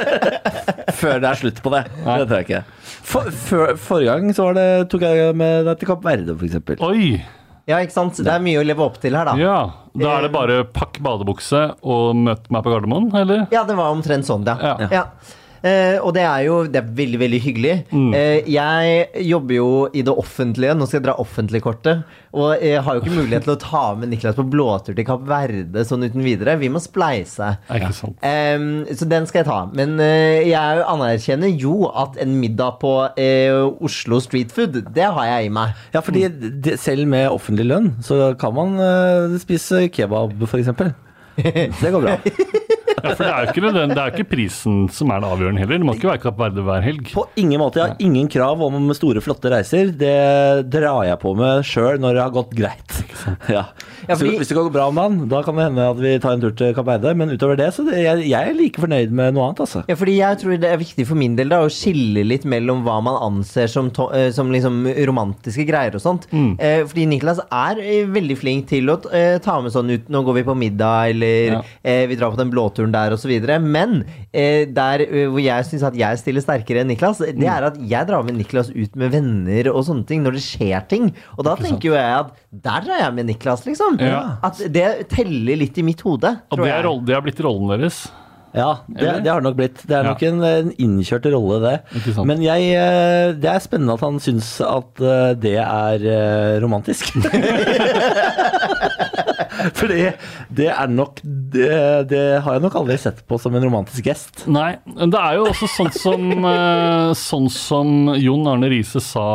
Speaker 1: Før det er slutt på det.
Speaker 3: Nei.
Speaker 1: Det tror jeg ikke. For, før, forrige gang så var det, tok jeg med deg til Kapp Verde, for eksempel.
Speaker 3: Oi!
Speaker 2: Ja, ikke sant? Det er mye å leve opp til her, da.
Speaker 3: Ja. Da er det bare pakk badebukse og møt meg på Gardermoen, eller?
Speaker 2: Ja, det var omtrent sånn, ja.
Speaker 3: Ja.
Speaker 2: ja. Eh, og det er jo det er veldig, veldig hyggelig. Eh, jeg jobber jo i det offentlige. Nå skal jeg dra offentlig-kortet. Og jeg har jo ikke mulighet til å ta med Niklas på blåtur til Kapp Verde sånn uten videre. Vi må spleise.
Speaker 3: Er ikke sant.
Speaker 2: Ehm, så den skal jeg ta. Men eh, jeg anerkjenner jo at en middag på eh, Oslo Street Food, det har jeg i meg.
Speaker 1: Ja, fordi
Speaker 3: Mm.
Speaker 1: det, selv med offentlig lønn, så kan man eh, spise kebab, f.eks. Det går bra.
Speaker 3: Ja, for det er, jo ikke, den, det er jo ikke prisen som er det avgjørende heller. Det må ikke være Kapp Verde hver helg.
Speaker 1: På ingen måte. Jeg har ingen krav om store, flotte reiser. Det drar jeg på med sjøl når det har gått greit. Ja.
Speaker 2: Ja, fordi-
Speaker 1: Så hvis det går bra om dagen, da kan det hende at vi tar en tur til Kapp Eide. Men utover det, så det, jeg, jeg er like fornøyd med noe annet, altså.
Speaker 2: Ja, fordi jeg tror det er viktig for min del da, å skille litt mellom hva man anser som, to eh, som liksom romantiske greier og sånt.
Speaker 3: Mm.
Speaker 2: Eh, fordi Niklas er eh, veldig flink til å t- eh, ta med sånn ut Nå går vi på middag, eller
Speaker 3: Ja.
Speaker 2: eh, vi drar på den blåturen der, osv. Men eh, der eh, hvor jeg syns at jeg stiller sterkere enn Niklas, det
Speaker 3: Mm.
Speaker 2: er at jeg drar med Niklas ut med venner og sånne ting når det skjer ting. Og da tenker jo jeg at der drar jeg med Niklas, liksom.
Speaker 3: Ja.
Speaker 2: At det teller litt i mitt hode.
Speaker 3: Og
Speaker 2: tror
Speaker 3: det, er,
Speaker 2: jeg.
Speaker 3: roll- det har blitt rollen deres.
Speaker 1: Ja, det,
Speaker 3: Eller?
Speaker 1: det har det nok blitt. Det er
Speaker 3: Ja.
Speaker 1: nok en, en innkjørt rolle,
Speaker 3: Ikke
Speaker 1: det.
Speaker 3: sant.
Speaker 1: Men jeg, eh, det er spennende at han syns at eh, det er eh, romantisk. Fordi det er nok det, det har jeg nok aldri sett på som en romantisk gest.
Speaker 3: Nei, men det er jo også sånn som, eh, sånn som Jon Arne Riise sa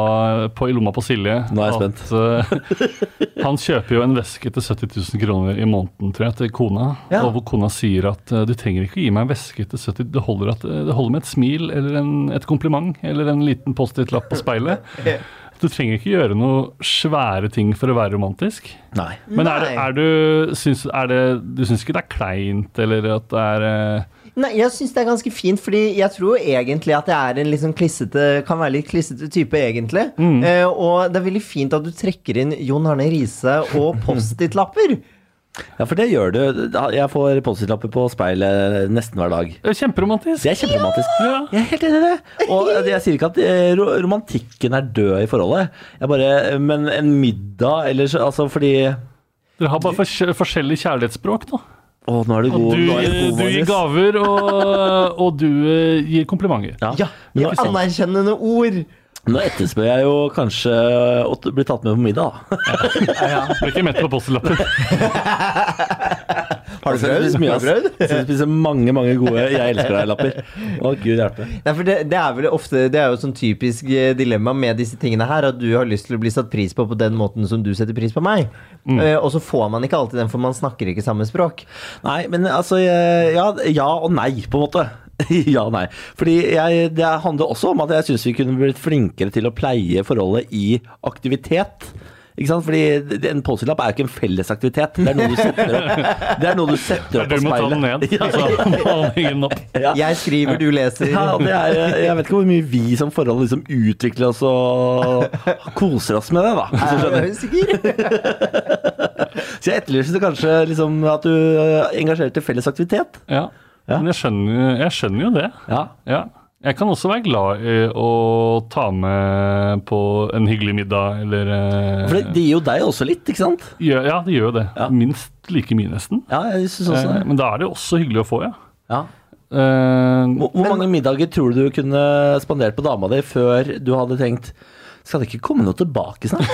Speaker 3: på I lomma på Silje.
Speaker 1: Nå er jeg
Speaker 3: at, eh, han kjøper jo en veske til 70 000 kroner i måneden tror jeg, til kona.
Speaker 1: Ja.
Speaker 3: Og hvor kona sier at eh, du trenger ikke å gi meg en veske til 70 Det holder, at, eh, det holder med et smil eller en, et kompliment eller en liten Post-It-lapp på speilet. Du trenger ikke gjøre noe svære ting for å være romantisk.
Speaker 1: Nei.
Speaker 3: Men er, det-
Speaker 2: Nei.
Speaker 3: er du, syns, er det, du syns ikke det er kleint, eller at det er eh,
Speaker 2: Nei, jeg syns det er ganske fint, fordi jeg tror egentlig at jeg er en litt sånn klissete Kan være litt klissete type, egentlig. Eh, og det er veldig fint at du trekker inn Jon Arne Riise og Post-It-lapper.
Speaker 1: Ja, for det gjør du. Jeg får Post-It-lapper på speilet nesten hver dag.
Speaker 3: det er kjemperomantisk?
Speaker 1: Det er kjemperomantisk.
Speaker 3: Ja.
Speaker 1: Jeg er helt enig i det. Og jeg sier ikke at eh, ro- romantikken er død i forholdet. Jeg bare, men en middag eller så Altså fordi
Speaker 3: Dere har bare fors forskjellig kjærlighetsspråk, da.
Speaker 1: Å, nå er du
Speaker 3: Du,
Speaker 1: god. nå er god,
Speaker 3: du gir
Speaker 1: Magnus.
Speaker 3: gaver, og, og du eh, gir komplimenter.
Speaker 1: Ja.
Speaker 2: Ja,
Speaker 1: men
Speaker 2: og
Speaker 1: nå,
Speaker 2: anerkjennende ord.
Speaker 1: nå etterspør jeg jo kanskje å t- bli tatt med på middag. da.
Speaker 3: Blir ikke mett på post-it-lappen.
Speaker 1: Har
Speaker 2: du prøvd?
Speaker 1: Mye,
Speaker 2: Har du prøvd?
Speaker 1: ass. Jeg skal spise mange, mange gode 'jeg elsker deg'-lapper. Å, gud hjelpe.
Speaker 2: Nei, for det, det er vel ofte Det er jo et sånn typisk eh, dilemma med disse tingene her, at du har lyst til å bli satt pris på på den måten som du setter pris på meg. Eh, og så får man ikke alltid den, for man snakker ikke samme språk.
Speaker 1: Nei, men altså eh, ja, ja og nei, på en måte. ja og nei. Fordi jeg, det handler også om at jeg syns vi kunne blitt flinkere til å pleie forholdet i aktivitet. Ikke sant? Fordi det- En Post-It-lapp er jo ikke en felles aktivitet. Det er noe du setter opp, det er noe du setter opp
Speaker 3: Du
Speaker 1: på
Speaker 3: må ta
Speaker 1: speilet.
Speaker 3: den ned. Altså, Så må han henge den opp.
Speaker 1: Ja.
Speaker 2: Jeg skriver, du leser.
Speaker 1: Ja, og det er, eh, jeg vet ikke hvor mye vi som forhold liksom utvikler oss og koser oss med det. da hvis du
Speaker 2: Er
Speaker 1: skjønner.
Speaker 2: du sikker?
Speaker 1: Så jeg etterlyser kanskje liksom at du eh, engasjerer til felles aktivitet.
Speaker 3: Ja. Men jeg skjønner, jeg skjønner jo det.
Speaker 1: Ja.
Speaker 3: Ja. Jeg kan også være glad i å ta med på en hyggelig middag, eller eh,
Speaker 1: For det, det gir jo deg også litt, ikke sant?
Speaker 3: gjør- Ja, det gjør jo det. Minst like mye, nesten.
Speaker 1: Ja, jeg synes også
Speaker 3: Eh,
Speaker 1: det.
Speaker 3: Men da er det også hyggelig å få, ja.
Speaker 1: Ja.
Speaker 3: Eh,
Speaker 1: Hvor, hvor mange middager tror du du kunne spandert på dama di før du hadde tenkt skal det ikke komme noe tilbake snart?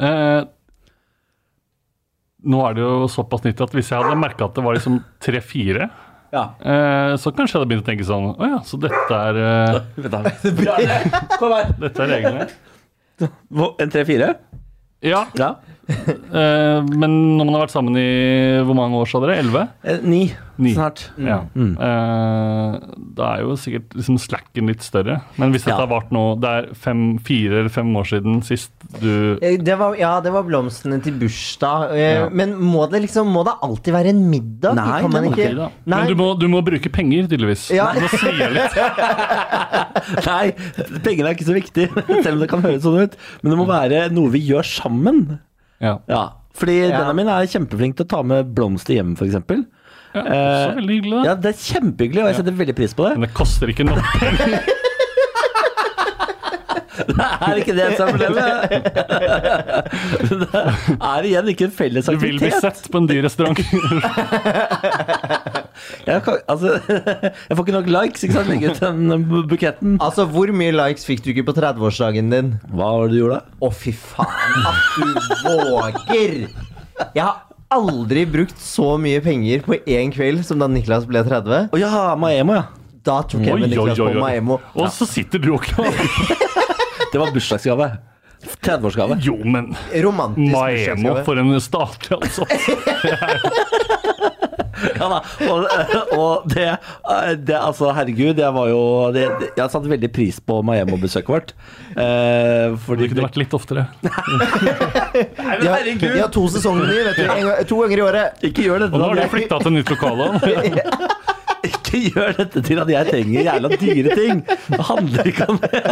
Speaker 3: eh, nå er det jo såpass nytt at hvis jeg hadde merka at det var liksom tre-fire,
Speaker 1: Ja.
Speaker 3: eh, så kanskje jeg hadde begynt å tenke sånn Å ja, så dette er, eh,
Speaker 1: Kom her.
Speaker 3: dette er reglene.
Speaker 1: Hvor- En tre-fire?
Speaker 3: Ja,
Speaker 1: Ja.
Speaker 3: eh, men når man har vært sammen i hvor mange år, sa dere? Elleve?
Speaker 1: Eh, Ni.
Speaker 3: Ni.
Speaker 1: Snart.
Speaker 3: Ja. Eh, da er jo sikkert liksom slacken litt større. Men hvis dette
Speaker 1: Ja.
Speaker 3: har vart nå Det er fem, fire eller fem år siden sist du
Speaker 2: Eh, Det var, ja, det var blomstene til bursdag. eh,
Speaker 3: Ja.
Speaker 2: Men må det liksom Må det alltid være en middag?
Speaker 1: Nei,
Speaker 2: kan man
Speaker 1: det må
Speaker 2: ikke
Speaker 1: ikke
Speaker 3: da.
Speaker 2: Nei,
Speaker 3: Men du må, du må bruke penger, tydeligvis.
Speaker 2: Ja.
Speaker 3: Nå svir jeg litt.
Speaker 1: Nei, pengene er ikke så viktig, selv om det kan høres sånn ut. Men det må være noe vi gjør sammen.
Speaker 3: Ja.
Speaker 1: Ja. Fordi
Speaker 2: Ja.
Speaker 1: Benjamin er kjempeflink til å ta med blomster hjem, f.eks.
Speaker 3: Ja, også veldig hyggelig, da.
Speaker 1: Eh, Ja, det er kjempehyggelig, og jeg setter veldig pris på det.
Speaker 3: Men det koster ikke nok.
Speaker 1: Er ikke det som er problemet? Det er igjen ikke en felles
Speaker 3: Du vil bli
Speaker 1: aktivitet.
Speaker 3: sett på en dyr restaurant.
Speaker 1: Jeg, kan, altså, jeg får ikke nok likes, ikke sant? Legge ut den buketten.
Speaker 2: Altså, hvor mye likes fikk du ikke på 30-årsdagen din?
Speaker 1: Hva var det du gjorde da?
Speaker 2: Å, fy faen, at du våger! Jeg har aldri brukt så mye penger på én kveld som da Niklas ble 30.
Speaker 1: Å ja, Maemo, ja.
Speaker 2: Da tok jeg
Speaker 3: Oi,
Speaker 2: med
Speaker 3: oi,
Speaker 2: Niklas
Speaker 3: oi,
Speaker 2: på
Speaker 3: oi.
Speaker 2: Maemo.
Speaker 3: Og så sitter du og klager.
Speaker 1: Det var bursdagsgave. 30-årsgave.
Speaker 3: Jo, men
Speaker 2: Romantisk
Speaker 3: Maemo
Speaker 2: bursdagsgave.
Speaker 3: for en statlig ansatt.
Speaker 1: Ja da. Og, og det, det Altså, herregud, jeg var jo det, det- Jeg satte veldig pris på Maemo-besøket vårt. Eh, fordi
Speaker 3: Det kunne vært litt oftere.
Speaker 1: Nei, men
Speaker 2: De har,
Speaker 1: herregud!
Speaker 2: de har to sesonger i, vet du. En, gang- to ganger i året.
Speaker 1: Ikke gjør dette
Speaker 3: Og nå har
Speaker 1: til
Speaker 3: du
Speaker 1: at jeg,
Speaker 3: flytta til nytt lokale.
Speaker 1: ikke gjør dette til at jeg trenger jævla dyre ting! Det handler ikke om det.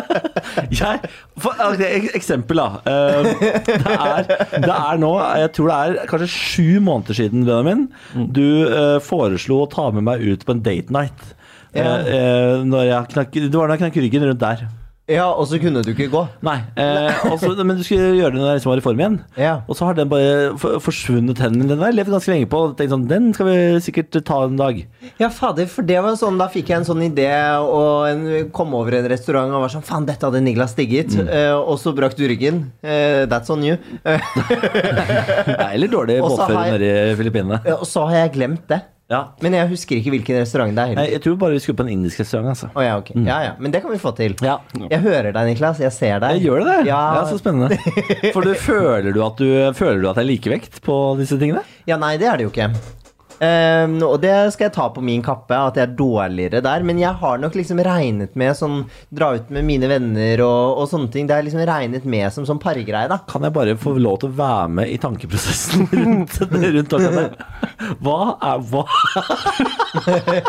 Speaker 1: Jeg, for, ok, ek- eksempel, da. Eh, Det er, det er nå Jeg tror det er kanskje sju måneder siden, Benjamin, du eh, foreslo å ta med meg ut på en date night. Eh,
Speaker 2: Ja.
Speaker 1: eh, når jeg knakk, det var da jeg knakk ryggen rundt der.
Speaker 2: Ja, og så kunne du ikke gå.
Speaker 1: Nei, eh, og så- men du skulle gjøre det når jeg liksom var i form igjen.
Speaker 2: Ja.
Speaker 1: Og så har den bare for, forsvunnet hen min. Den har jeg levd ganske lenge på. Og tenkt sånn, den skal vi sikkert ta en dag.
Speaker 2: Ja, fader, for det var sånn, Da fikk jeg en sånn idé og en, kom over en restaurant og var sånn Faen, dette hadde Niklas digget.
Speaker 1: Mm.
Speaker 2: Eh, og så brakk du ryggen. Eh, that's on you. Eh,
Speaker 1: Nei, eller dårlig
Speaker 2: Og så har
Speaker 1: båtfører
Speaker 2: jeg-
Speaker 1: nede i Filippinene.
Speaker 2: og så har jeg glemt det.
Speaker 1: Ja.
Speaker 2: Men jeg husker ikke hvilken restaurant det er.
Speaker 1: Nei,
Speaker 2: heller.
Speaker 1: jeg tror bare vi skulle på en indisk restaurant, altså.
Speaker 2: Å ja, ok. Ja, ja. Men det kan vi få til.
Speaker 1: Ja.
Speaker 2: Jeg hører deg, Niklas. Jeg ser deg.
Speaker 1: Jeg gjør det, det.
Speaker 2: Ja,
Speaker 1: Ja, så spennende. For du føler du at du føler du at det er likevekt på disse tingene?
Speaker 2: ja, nei, det er det jo ikke. Ehm, og det skal jeg ta på min kappe, at jeg er dårligere der. Men jeg har nok liksom regnet med sånn dra ut med mine venner og, og sånne ting. Det er liksom regnet med som sånn pargreie, da.
Speaker 1: Kan jeg bare få lov til å være med i tankeprosessen rundt, rundt akkurat det? Hva er hva?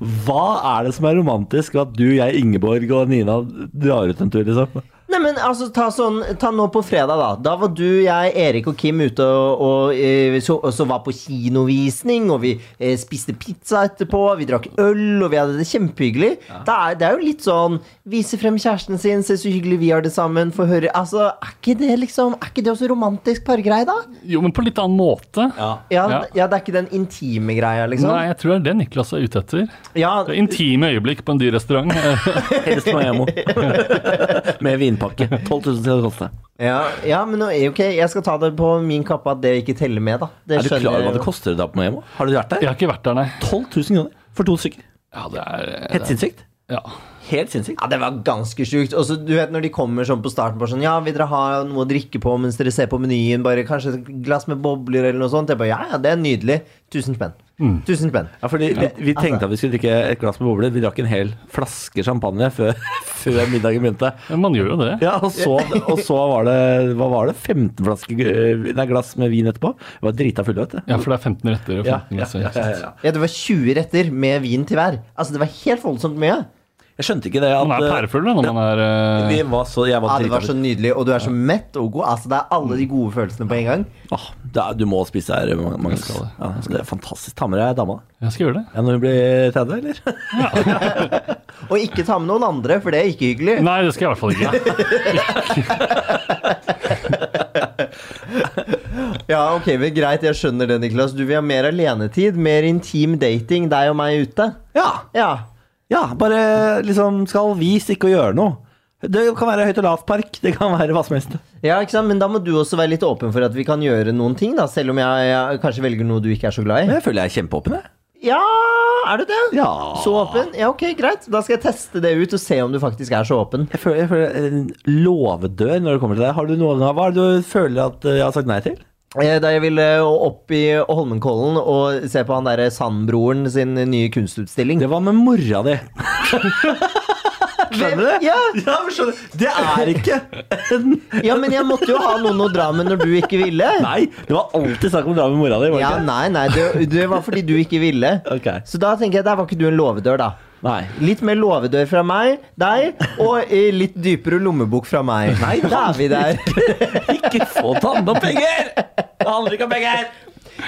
Speaker 1: hva er det som er romantisk ved at du, jeg, Ingeborg og Nina drar ut en tur, liksom?
Speaker 2: Nei, men altså, ta, sånn, ta nå på fredag, da. Da var du, jeg, Erik og Kim ute og, og, eh, så, og så var på kinovisning, og vi eh, spiste pizza etterpå, vi drakk øl, og vi hadde det kjempehyggelig. Det, er, det er jo litt sånn Vise frem kjæresten sin, se så hyggelig vi har det sammen, få høre Altså, er ikke det liksom Er ikke det også romantisk pargreie, da?
Speaker 3: Jo, men på litt annen måte.
Speaker 2: Ja,
Speaker 3: Ja.
Speaker 2: d- ja, det er ikke den intime greia, liksom?
Speaker 3: Nei, jeg tror det er det Niklas er ute etter.
Speaker 2: Ja,
Speaker 3: Det er Intime øyeblikk på en dyr restaurant.
Speaker 1: Helst Maemo. med vinpakke. 12 000 skal det koste.
Speaker 2: ja, ja, men nå- eh, ok, jeg skal ta det på min kappe at det ikke teller med, da. Det
Speaker 1: Er du
Speaker 2: skjønner
Speaker 1: klar over
Speaker 2: jeg
Speaker 1: hva det
Speaker 2: jo.
Speaker 1: koster da på Maemo? Har du vært
Speaker 3: Jeg
Speaker 1: der?
Speaker 3: har ikke vært der, nei.
Speaker 1: 12 000 kroner for to stykker.
Speaker 3: Ja, det er eh,
Speaker 1: Helt sinnssykt.
Speaker 3: ja.
Speaker 1: Helt sinnssykt.
Speaker 2: Ja, det var ganske sjukt. Og så du vet når de kommer sånn på starten bare sånn Ja, vil dere ha noe å drikke på mens dere ser på menyen? Bare kanskje et glass med bobler eller noe sånt? Jeg bare ja, ja, det er nydelig. Tusen spenn. Tusen spenn.
Speaker 1: Ja, fordi vi, vi tenkte at vi skulle drikke et glass med bobler. Vi drakk en hel flaske champagne før, før middagen begynte.
Speaker 3: Men man gjør jo det.
Speaker 1: Ja, og så, og så var det hva var det, 15 flasker, eh, nei, glass med vin etterpå. Vi var drita fulle, vet du.
Speaker 3: Ja, for det er 15 retter og 15 glass.
Speaker 1: ja, ja, ja.
Speaker 2: Ja, det var 20 retter med vin til hver. Altså, det var helt voldsomt mye.
Speaker 1: Jeg skjønte ikke det at
Speaker 3: Man er
Speaker 1: eh,
Speaker 3: pærefull da, når man er eh,
Speaker 1: vi var så, jeg
Speaker 2: Ja,
Speaker 1: var
Speaker 2: det var
Speaker 1: drita
Speaker 2: så nydelig, og du er så mett og god. Altså, det er alle de gode følelsene på en gang.
Speaker 1: Åh, det er- Du må spise her, Mag- Magnus. Ja, altså, det er fantastisk. Ta med deg dama.
Speaker 3: Jeg skal gjøre det.
Speaker 1: Ja, når hun blir 30, eller?
Speaker 2: Og ikke ta med noen andre, for det er ikke hyggelig.
Speaker 3: Nei, det skal jeg i hvert fall ikke.
Speaker 2: Ja, ok, men Greit, jeg skjønner det, Niklas. Du vil ha mer alenetid, mer intim dating, deg og meg ute.
Speaker 1: Ja,
Speaker 2: Ja,
Speaker 1: ja, bare liksom Skal vi stikke og gjøre noe? Det kan være høyt- og lavt-park. Det kan være hva som helst.
Speaker 2: Ja, ikke sant? Men da må du også være litt åpen for at vi kan gjøre noen ting, da. Selv om jeg, jeg kanskje velger noe du ikke er så glad i.
Speaker 1: Jeg føler jeg er kjempeåpen, jeg.
Speaker 2: Ja, er du det?
Speaker 1: Ja.
Speaker 2: Så åpen? Ja, ok, greit. Da skal jeg teste det ut og se om du faktisk er så åpen.
Speaker 1: Jeg føler, jeg føler en låvedør når det kommer til deg. Har du noen av hva er det du føler at eh, jeg har sagt nei til?
Speaker 2: Eh, Da jeg ville opp i Holmenkollen og se på han derre Sandbroren sin nye kunstutstilling.
Speaker 1: Det var med mora di. Skjønner du?
Speaker 2: Ja,
Speaker 1: Ja, men skjønner du, Det er ikke en
Speaker 2: ja, men jeg måtte jo ha noen å dra med når du ikke ville.
Speaker 1: Nei, det var alltid snakk om å dra med mora di. var det
Speaker 2: Ja,
Speaker 1: ikke?
Speaker 2: nei, nei, det, det var fordi du ikke ville.
Speaker 1: Ok.
Speaker 2: Så da tenker jeg, der var ikke du en låvedør, da.
Speaker 1: Nei.
Speaker 2: Litt mer låvedør fra meg, deg, og eh, litt dypere lommebok fra meg.
Speaker 1: Nei, det
Speaker 2: da er vi der.
Speaker 1: Ikke få tanna penger! Det handler ikke om penger!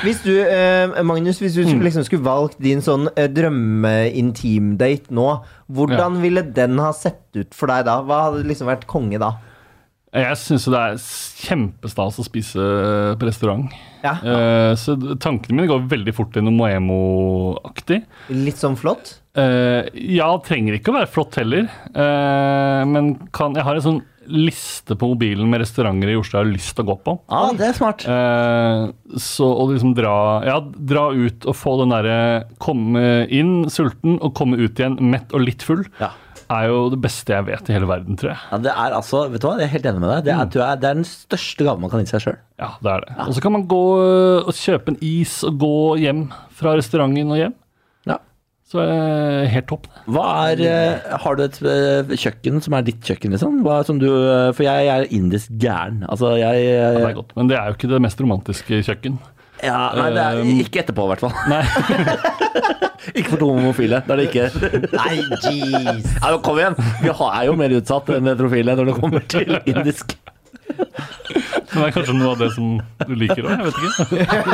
Speaker 2: Hvis du, eh, Magnus, hvis du skulle- liksom skulle valgt din sånn eh, drømme-intimdate nå, hvordan ville den ha sett ut for deg da? Hva hadde liksom vært konge da?
Speaker 3: Jeg syns jo det er kjempestas å spise eh, på restaurant.
Speaker 2: Ja.
Speaker 3: Eh, så tankene mine går veldig fort til noe Moemo-aktig.
Speaker 2: Litt sånn flott.
Speaker 3: Eh, ja, trenger ikke å være flott heller, eh, men kan, jeg har en sånn liste på mobilen med restauranter i Oslo jeg har lyst til å gå på.
Speaker 1: Ja, det er smart.
Speaker 3: Eh, så å liksom dra Ja, dra ut og få den derre komme inn sulten og komme ut igjen mett og litt full,
Speaker 1: Ja.
Speaker 3: er jo det beste jeg vet i hele verden, tror jeg.
Speaker 1: Ja, det er altså, vet du hva, jeg er helt enig med deg. Det er, tror jeg, det er den største gaven man kan gi seg sjøl.
Speaker 3: Ja, det er det. Og så kan man gå eh, og kjøpe en is og gå hjem fra restauranten og hjem.
Speaker 1: Ja.
Speaker 3: Så er det helt topp, det.
Speaker 1: Hva er, eh, Har du et eh, kjøkken som er ditt kjøkken, liksom? Hva, som du, eh, for jeg, er indisk gæren. Altså, jeg
Speaker 3: Det
Speaker 1: eh,
Speaker 3: er godt. Men det er jo ikke det mest romantiske kjøkken.
Speaker 1: ja, Nei, det er
Speaker 3: Um,
Speaker 1: ikke etterpå, i hvert fall.
Speaker 3: Nei.
Speaker 1: Ikke for to homofile. Da er det ikke
Speaker 2: Nei, jeez.
Speaker 1: Ja, men kom igjen! Vi har- er jo mer utsatt enn heterofile når det kommer til indisk.
Speaker 3: Men det er kanskje noe av det som du liker òg, jeg vet ikke.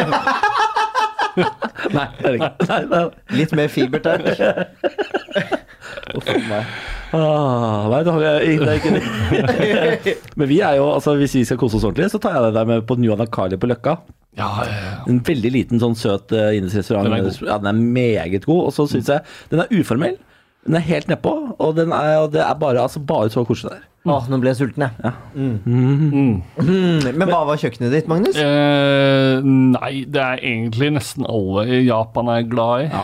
Speaker 1: Nei, det er det ikke. Nei, nei, nei.
Speaker 2: Litt mer fiber, takk.
Speaker 1: Ah, nei, det har jeg- det er ikke det. Men vi er jo, altså, hvis vi skal kose oss ordentlig, så tar jeg deg der med på New Anakali på Løkka.
Speaker 3: Ja, ja, ja.
Speaker 1: En veldig liten, sånn søt eh, indisk restaurant.
Speaker 3: Den er god.
Speaker 1: Ja, den er meget god. Og så syns jeg den er uformell. Den er helt nedpå, og, den er, og det er bare, altså, bare så koselig der.
Speaker 2: Å, nå ble jeg sulten, jeg.
Speaker 1: Mm.
Speaker 2: Mm. Men hva var kjøkkenet ditt, Magnus?
Speaker 3: Eh, nei, det er egentlig nesten alle i Japan er glad i. Eh,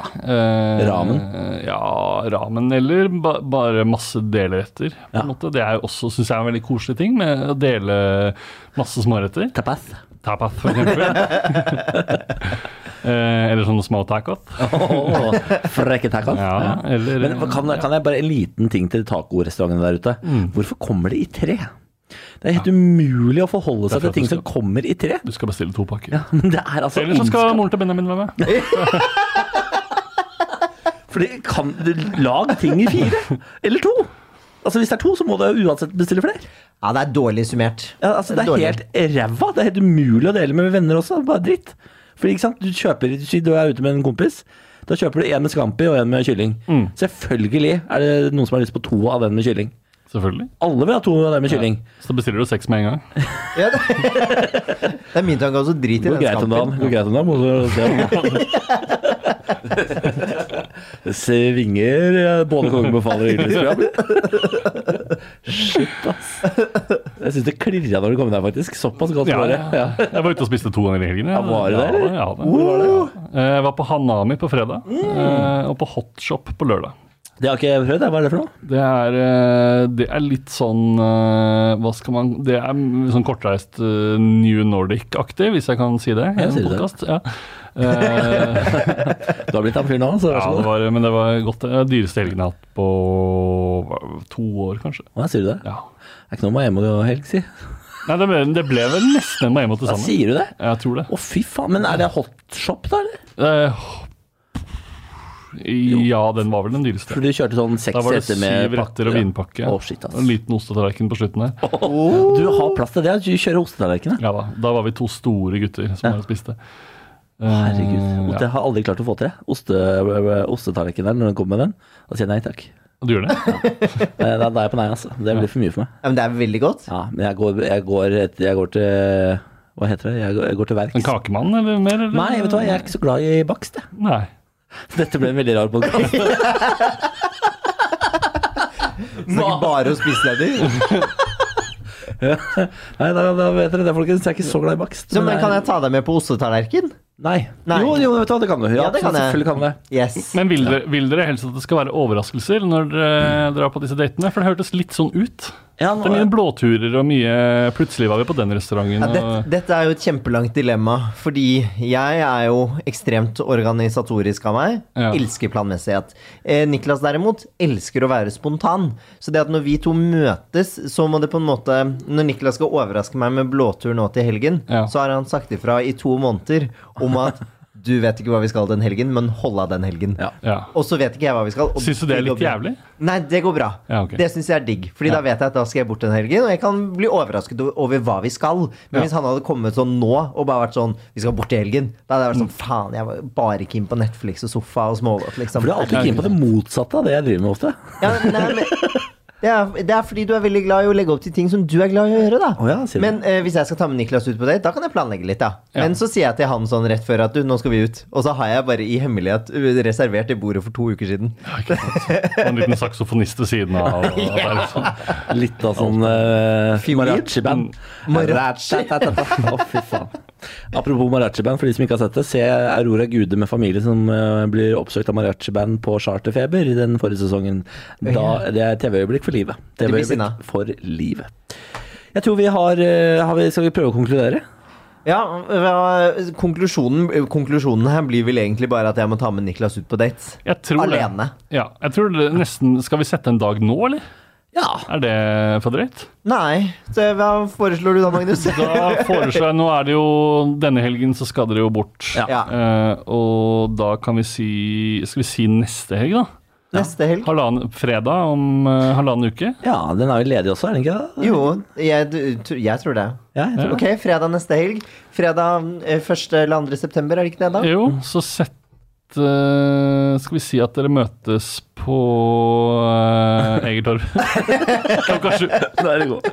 Speaker 1: Ramen.
Speaker 3: Ja, ramen, eller ba bare masse delretter. på en måte. Det er jo også, syns jeg, en veldig koselig ting med å dele masse småretter.
Speaker 1: Tapas.
Speaker 3: Tapas, for eksempel. eh, eller sånne små tacos.
Speaker 1: Oh, frekke tacos.
Speaker 3: Ja, eller-
Speaker 1: Men hva- kan, kan jeg bare en liten ting til tacorestaurantene der ute?
Speaker 3: Mm.
Speaker 1: Hvorfor kommer det i tre? Det er helt umulig å forholde seg
Speaker 3: Det er
Speaker 1: til ting
Speaker 3: for
Speaker 1: som
Speaker 3: at du
Speaker 1: kommer i tre.
Speaker 3: Du skal bestille to pakker.
Speaker 1: Ja, men det er altså
Speaker 3: Eller så skal
Speaker 1: ondskap.
Speaker 3: moren til Benjamin være med.
Speaker 1: Fordi kan, Lag ting i fire, eller to. Altså Hvis det er to, så må du uansett bestille flere.
Speaker 2: Ja, det er dårlig summert.
Speaker 1: Ja, altså, det er
Speaker 2: Dårlig.
Speaker 1: helt ræva. Det er helt umulig å dele med venner også. Bare dritt. Fordi, ikke sant? Du kjøper Si du er ute med en kompis. Da kjøper du en med scampi og en med kylling. Selvfølgelig er det noen som har lyst på to av den med kylling.
Speaker 3: Selvfølgelig.
Speaker 1: Alle vil ha to av den med kylling.
Speaker 3: Så bestiller du seks med en gang.
Speaker 2: Ja, det, det er min tanke også. Drit i
Speaker 1: Det
Speaker 2: den
Speaker 1: går greit om dagen.
Speaker 2: skampen.
Speaker 1: det Går greit om dagen. og så- Det svinger eh, både kongen befaler og Ylvis program. Shit, ass. Jeg syns det klirra når du kom der, faktisk. Såpass godt var det. Ja.
Speaker 3: Jeg var ute og spiste to ganger i helgen.
Speaker 1: Ja, var det det, eller?
Speaker 3: Ja, det. Eh, Jeg var på Hanami på fredag, eh, og på Hotshop på lørdag.
Speaker 1: Det har ikke jeg prøvd. jeg. Hva er det for noe?
Speaker 3: Det er, eh, det er litt sånn eh, Hva skal man Det er m- sånn kortreist eh, New Nordic-aktig, hvis jeg kan si det. i
Speaker 1: Ja,
Speaker 3: en
Speaker 1: sier du det?
Speaker 3: podcast, Ja. Eh,
Speaker 1: Du har blitt han fyren nå, så vær
Speaker 3: ja,
Speaker 1: så god.
Speaker 3: det var, men det var godt. Det er dyreste helgen jeg har hatt på hva, to år, kanskje.
Speaker 1: Hva sier du det?
Speaker 3: Ja.
Speaker 1: Det er ikke noe med hjemme og helg, si.
Speaker 3: Nei, det ble, det ble vel nesten en Maemo til
Speaker 1: Hva
Speaker 3: sammen.
Speaker 1: sier du det?
Speaker 3: Jeg tror det.
Speaker 1: Å, fy faen. Men er det hotshop, da, eller?
Speaker 3: Eh, ja, den var vel den dyreste.
Speaker 1: For du kjørte sånn
Speaker 3: Da
Speaker 1: seks
Speaker 3: var det
Speaker 1: retter med
Speaker 3: syv retter og
Speaker 1: ja.
Speaker 3: vinpakke.
Speaker 1: Å, shit, ass.
Speaker 3: Og en liten ostetallerken på slutten her.
Speaker 1: Du har plass til det? Du kjører ostetallerkenene?
Speaker 3: Ja da, da var vi to store gutter som bare spiste.
Speaker 1: Herregud.
Speaker 3: Eh,
Speaker 1: Det har jeg aldri klart å få til. jeg. Oste, eh, Ostetallerken der, når den kommer med den, da sier jeg nei takk.
Speaker 3: Du gjør det?
Speaker 1: Eh, Da, da er jeg på nei, altså. Det blir for mye for meg.
Speaker 2: Ja, men det er veldig godt.
Speaker 1: Ja, men jeg går, jeg går, et, jeg går til Hva heter det? Jeg går, jeg går til
Speaker 3: En
Speaker 1: verks.
Speaker 3: kakemann eller mer? Eller?
Speaker 1: Nei, vet du hva, jeg er ikke så glad i bakst, jeg.
Speaker 3: Nei.
Speaker 1: Dette ble en veldig rar podkast.
Speaker 2: Snakker bare om spiseleder.
Speaker 1: Nei, da, da vet dere det, folkens. Jeg er ikke så glad i bakst.
Speaker 2: Så, men
Speaker 1: jeg-
Speaker 2: kan jeg ta deg med på ostetallerken?
Speaker 1: Nei.
Speaker 2: Nei.
Speaker 1: Jo, jo, vet du hva, det kan du. Ja,
Speaker 2: Ja, det kan jeg.
Speaker 1: selvfølgelig kan du det.
Speaker 2: Yes.
Speaker 3: Men vil dere, vil dere helst at det skal være overraskelser når dere drar på disse datene? For det hørtes litt sånn ut.
Speaker 1: Ja,
Speaker 3: Det er mye blåturer og mye Plutselig var vi på den restauranten.
Speaker 2: Ja,
Speaker 3: og-
Speaker 2: dette, dette er jo et kjempelangt dilemma, fordi jeg er jo ekstremt organisatorisk av meg.
Speaker 3: Ja.
Speaker 2: Elsker planmessighet. Eh, Niklas derimot elsker å være spontan. Så det at når vi to møtes, så må det på en måte Når Niklas skal overraske meg med blåtur nå til helgen,
Speaker 3: Ja.
Speaker 2: så har han sagt ifra i to måneder om at du vet ikke hva vi skal den helgen, men hold av den helgen.
Speaker 1: Ja.
Speaker 3: Ja.
Speaker 2: Og så vet ikke jeg hva vi skal. og
Speaker 3: Syns du det er
Speaker 2: går
Speaker 3: litt
Speaker 2: bra.
Speaker 3: jævlig?
Speaker 2: Nei, det går bra.
Speaker 3: Ja, ok.
Speaker 2: Det syns jeg er digg. Fordi da vet jeg at da skal jeg bort den helgen, og jeg kan bli overrasket o- over hva vi skal. Men
Speaker 3: Ja.
Speaker 2: hvis han hadde kommet sånn nå og bare vært sånn Vi skal bort i helgen. Da hadde jeg vært sånn
Speaker 1: Mm.
Speaker 2: Faen, jeg var bare keen på Netflix og sofa og smågodt, liksom.
Speaker 1: For du er alltid keen på det motsatte av det jeg driver med ofte.
Speaker 2: Ja, men- nei, men, Det er, det er fordi du er veldig glad i å legge opp til ting som du er glad i å gjøre, da.
Speaker 1: Å ja, sier du.
Speaker 2: Men eh, hvis jeg skal ta med Niklas ut på date, da kan jeg planlegge litt, da. Men så sier jeg til han sånn rett før at du, nå skal vi ut. Og så har jeg bare i hemmelighet uh, reservert det bordet for to uker siden.
Speaker 3: Og en liten saksofonist ved siden av. Og, og der, liksom.
Speaker 1: Litt av sånn uh,
Speaker 2: Fiolin?
Speaker 1: mariachi-band. Mm. Mariachi. Å, fy faen. Apropos mariachi-band, for de som ikke har sett det, se Aurora Gude med familie som eh, blir oppsøkt av mariachi-band på Charterfeber i den forrige sesongen. Da, det er TV-øyeblikk for livet.
Speaker 2: blir sinna.
Speaker 1: TV-øyeblikk for livet. Jeg tror vi har, eh, har vi, Skal vi prøve å konkludere?
Speaker 2: Ja, hva- konklusjonen, konklusjonen her blir vel egentlig bare at jeg må ta med Niklas ut på date.
Speaker 3: Jeg tror
Speaker 2: Alene.
Speaker 3: Det. Ja, jeg tror det nesten Skal vi sette en dag nå, eller?
Speaker 1: Ja.
Speaker 3: Er det for drøyt?
Speaker 2: Nei, så hva foreslår du da, Magnus?
Speaker 3: Da foreslår jeg Nå er det jo Denne helgen så skal dere jo bort.
Speaker 2: Ja.
Speaker 3: Eh, og da kan vi si Skal vi si neste helg, da?
Speaker 2: Neste helg.
Speaker 3: Halvannen, fredag om eh, halvannen uke.
Speaker 1: ja, den er jo ledig også, er den ikke det?
Speaker 2: Jo, jeg, du- tr- jeg tror det.
Speaker 1: Ja, jeg tror det.
Speaker 2: Ok, fredag neste helg. Fredag eh, 1. eller 2. september, er det ikke det da?
Speaker 3: Jo, så sett eh, Skal vi si at dere møtes på uh, Egertorv klokka sju.
Speaker 1: Da er det god.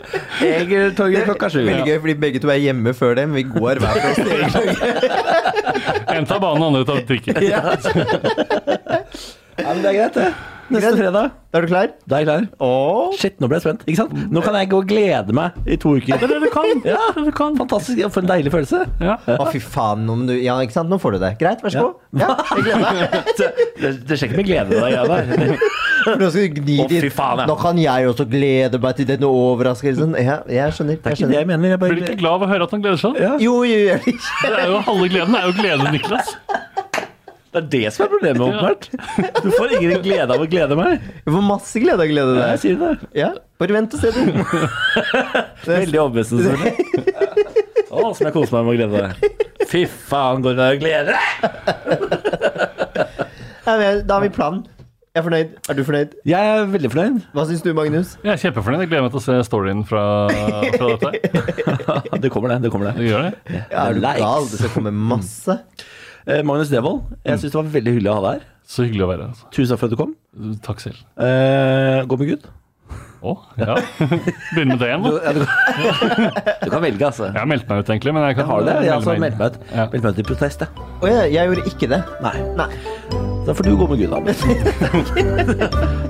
Speaker 1: Egertorget klokka sju.
Speaker 2: Veldig gøy, fordi begge to er hjemme før det, men vi går hver for oss. til egen gang.
Speaker 3: En tar banen, andre tar trikken.
Speaker 1: Ja, men det er greit, det. Neste
Speaker 2: Greit.
Speaker 1: fredag,
Speaker 2: Er du klar?
Speaker 1: da er jeg klar.
Speaker 2: Åh.
Speaker 1: Shit, nå ble jeg spent. Ikke sant? Nå kan jeg gå og glede meg i to uker.
Speaker 3: Det er det du kan.
Speaker 1: Ja,
Speaker 3: Det er det du kan.
Speaker 1: fantastisk. Ja, For en deilig følelse.
Speaker 3: Ja.
Speaker 2: Å, fy faen. Nå, må du, ja, ikke sant? Nå får du det. Greit, vær så god. Ja. jeg gleder meg.
Speaker 1: Det, det, det skjer ikke med glede, det greiene der.
Speaker 2: Nå skal du gni
Speaker 1: Å, fy
Speaker 2: dit.
Speaker 1: faen, ja.
Speaker 2: Nå kan jeg også glede meg til denne overraskelsen. Ja, jeg
Speaker 1: Det er
Speaker 2: skjønner. Jeg
Speaker 1: ikke det
Speaker 2: skjønner.
Speaker 1: jeg mener. Jeg
Speaker 3: Blir du ikke
Speaker 1: bare
Speaker 3: glad av å høre at han gleder seg?
Speaker 1: Ja.
Speaker 2: Jo, jo, jo.
Speaker 3: Det er jo Halve gleden er jo glede, Niklas.
Speaker 1: Det er det som er problemet, åpenbart. Du får ingen glede av å glede meg.
Speaker 2: Jeg får masse glede av å glede
Speaker 1: Jeg
Speaker 2: deg.
Speaker 1: sier det.
Speaker 2: Ja, bare vent og se den.
Speaker 1: Veldig overbevisende, selvfølgelig. Å, som jeg koser meg med å glede deg. Fy faen, går det an å glede deg?
Speaker 2: Ja, men Da har vi planen. Jeg er fornøyd. Er du fornøyd?
Speaker 1: Jeg er veldig fornøyd.
Speaker 2: Hva syns du, Magnus?
Speaker 3: Jeg er kjempefornøyd. Jeg gleder meg til å se storyen fra, fra dette.
Speaker 1: Ja, Det kommer, det. det kommer
Speaker 3: Du
Speaker 1: det.
Speaker 3: gjør det?
Speaker 2: Ja, er du
Speaker 1: Likes.
Speaker 2: gal? Det skal komme masse.
Speaker 1: Eh, Magnus Devold, jeg syns det var veldig hyggelig å ha deg her.
Speaker 3: Så hyggelig å være her. altså.
Speaker 1: Tusen takk for at du kom.
Speaker 3: Takk selv.
Speaker 1: Eh, gå med Gud.
Speaker 3: Å, ja. Begynne med det igjen, da.
Speaker 1: Ja, du, kan, du kan velge, altså.
Speaker 3: Jeg har meldt meg ut, egentlig. Men jeg kan
Speaker 1: Jeg har det. Jeg har altså
Speaker 3: melde
Speaker 1: meldt
Speaker 3: meg inn.
Speaker 1: meg ut Meldt meg ut i protest, jeg.
Speaker 2: Å ja, jeg gjorde ikke det.
Speaker 1: Nei.
Speaker 2: Nei.
Speaker 1: Da får du gå med Gud, da.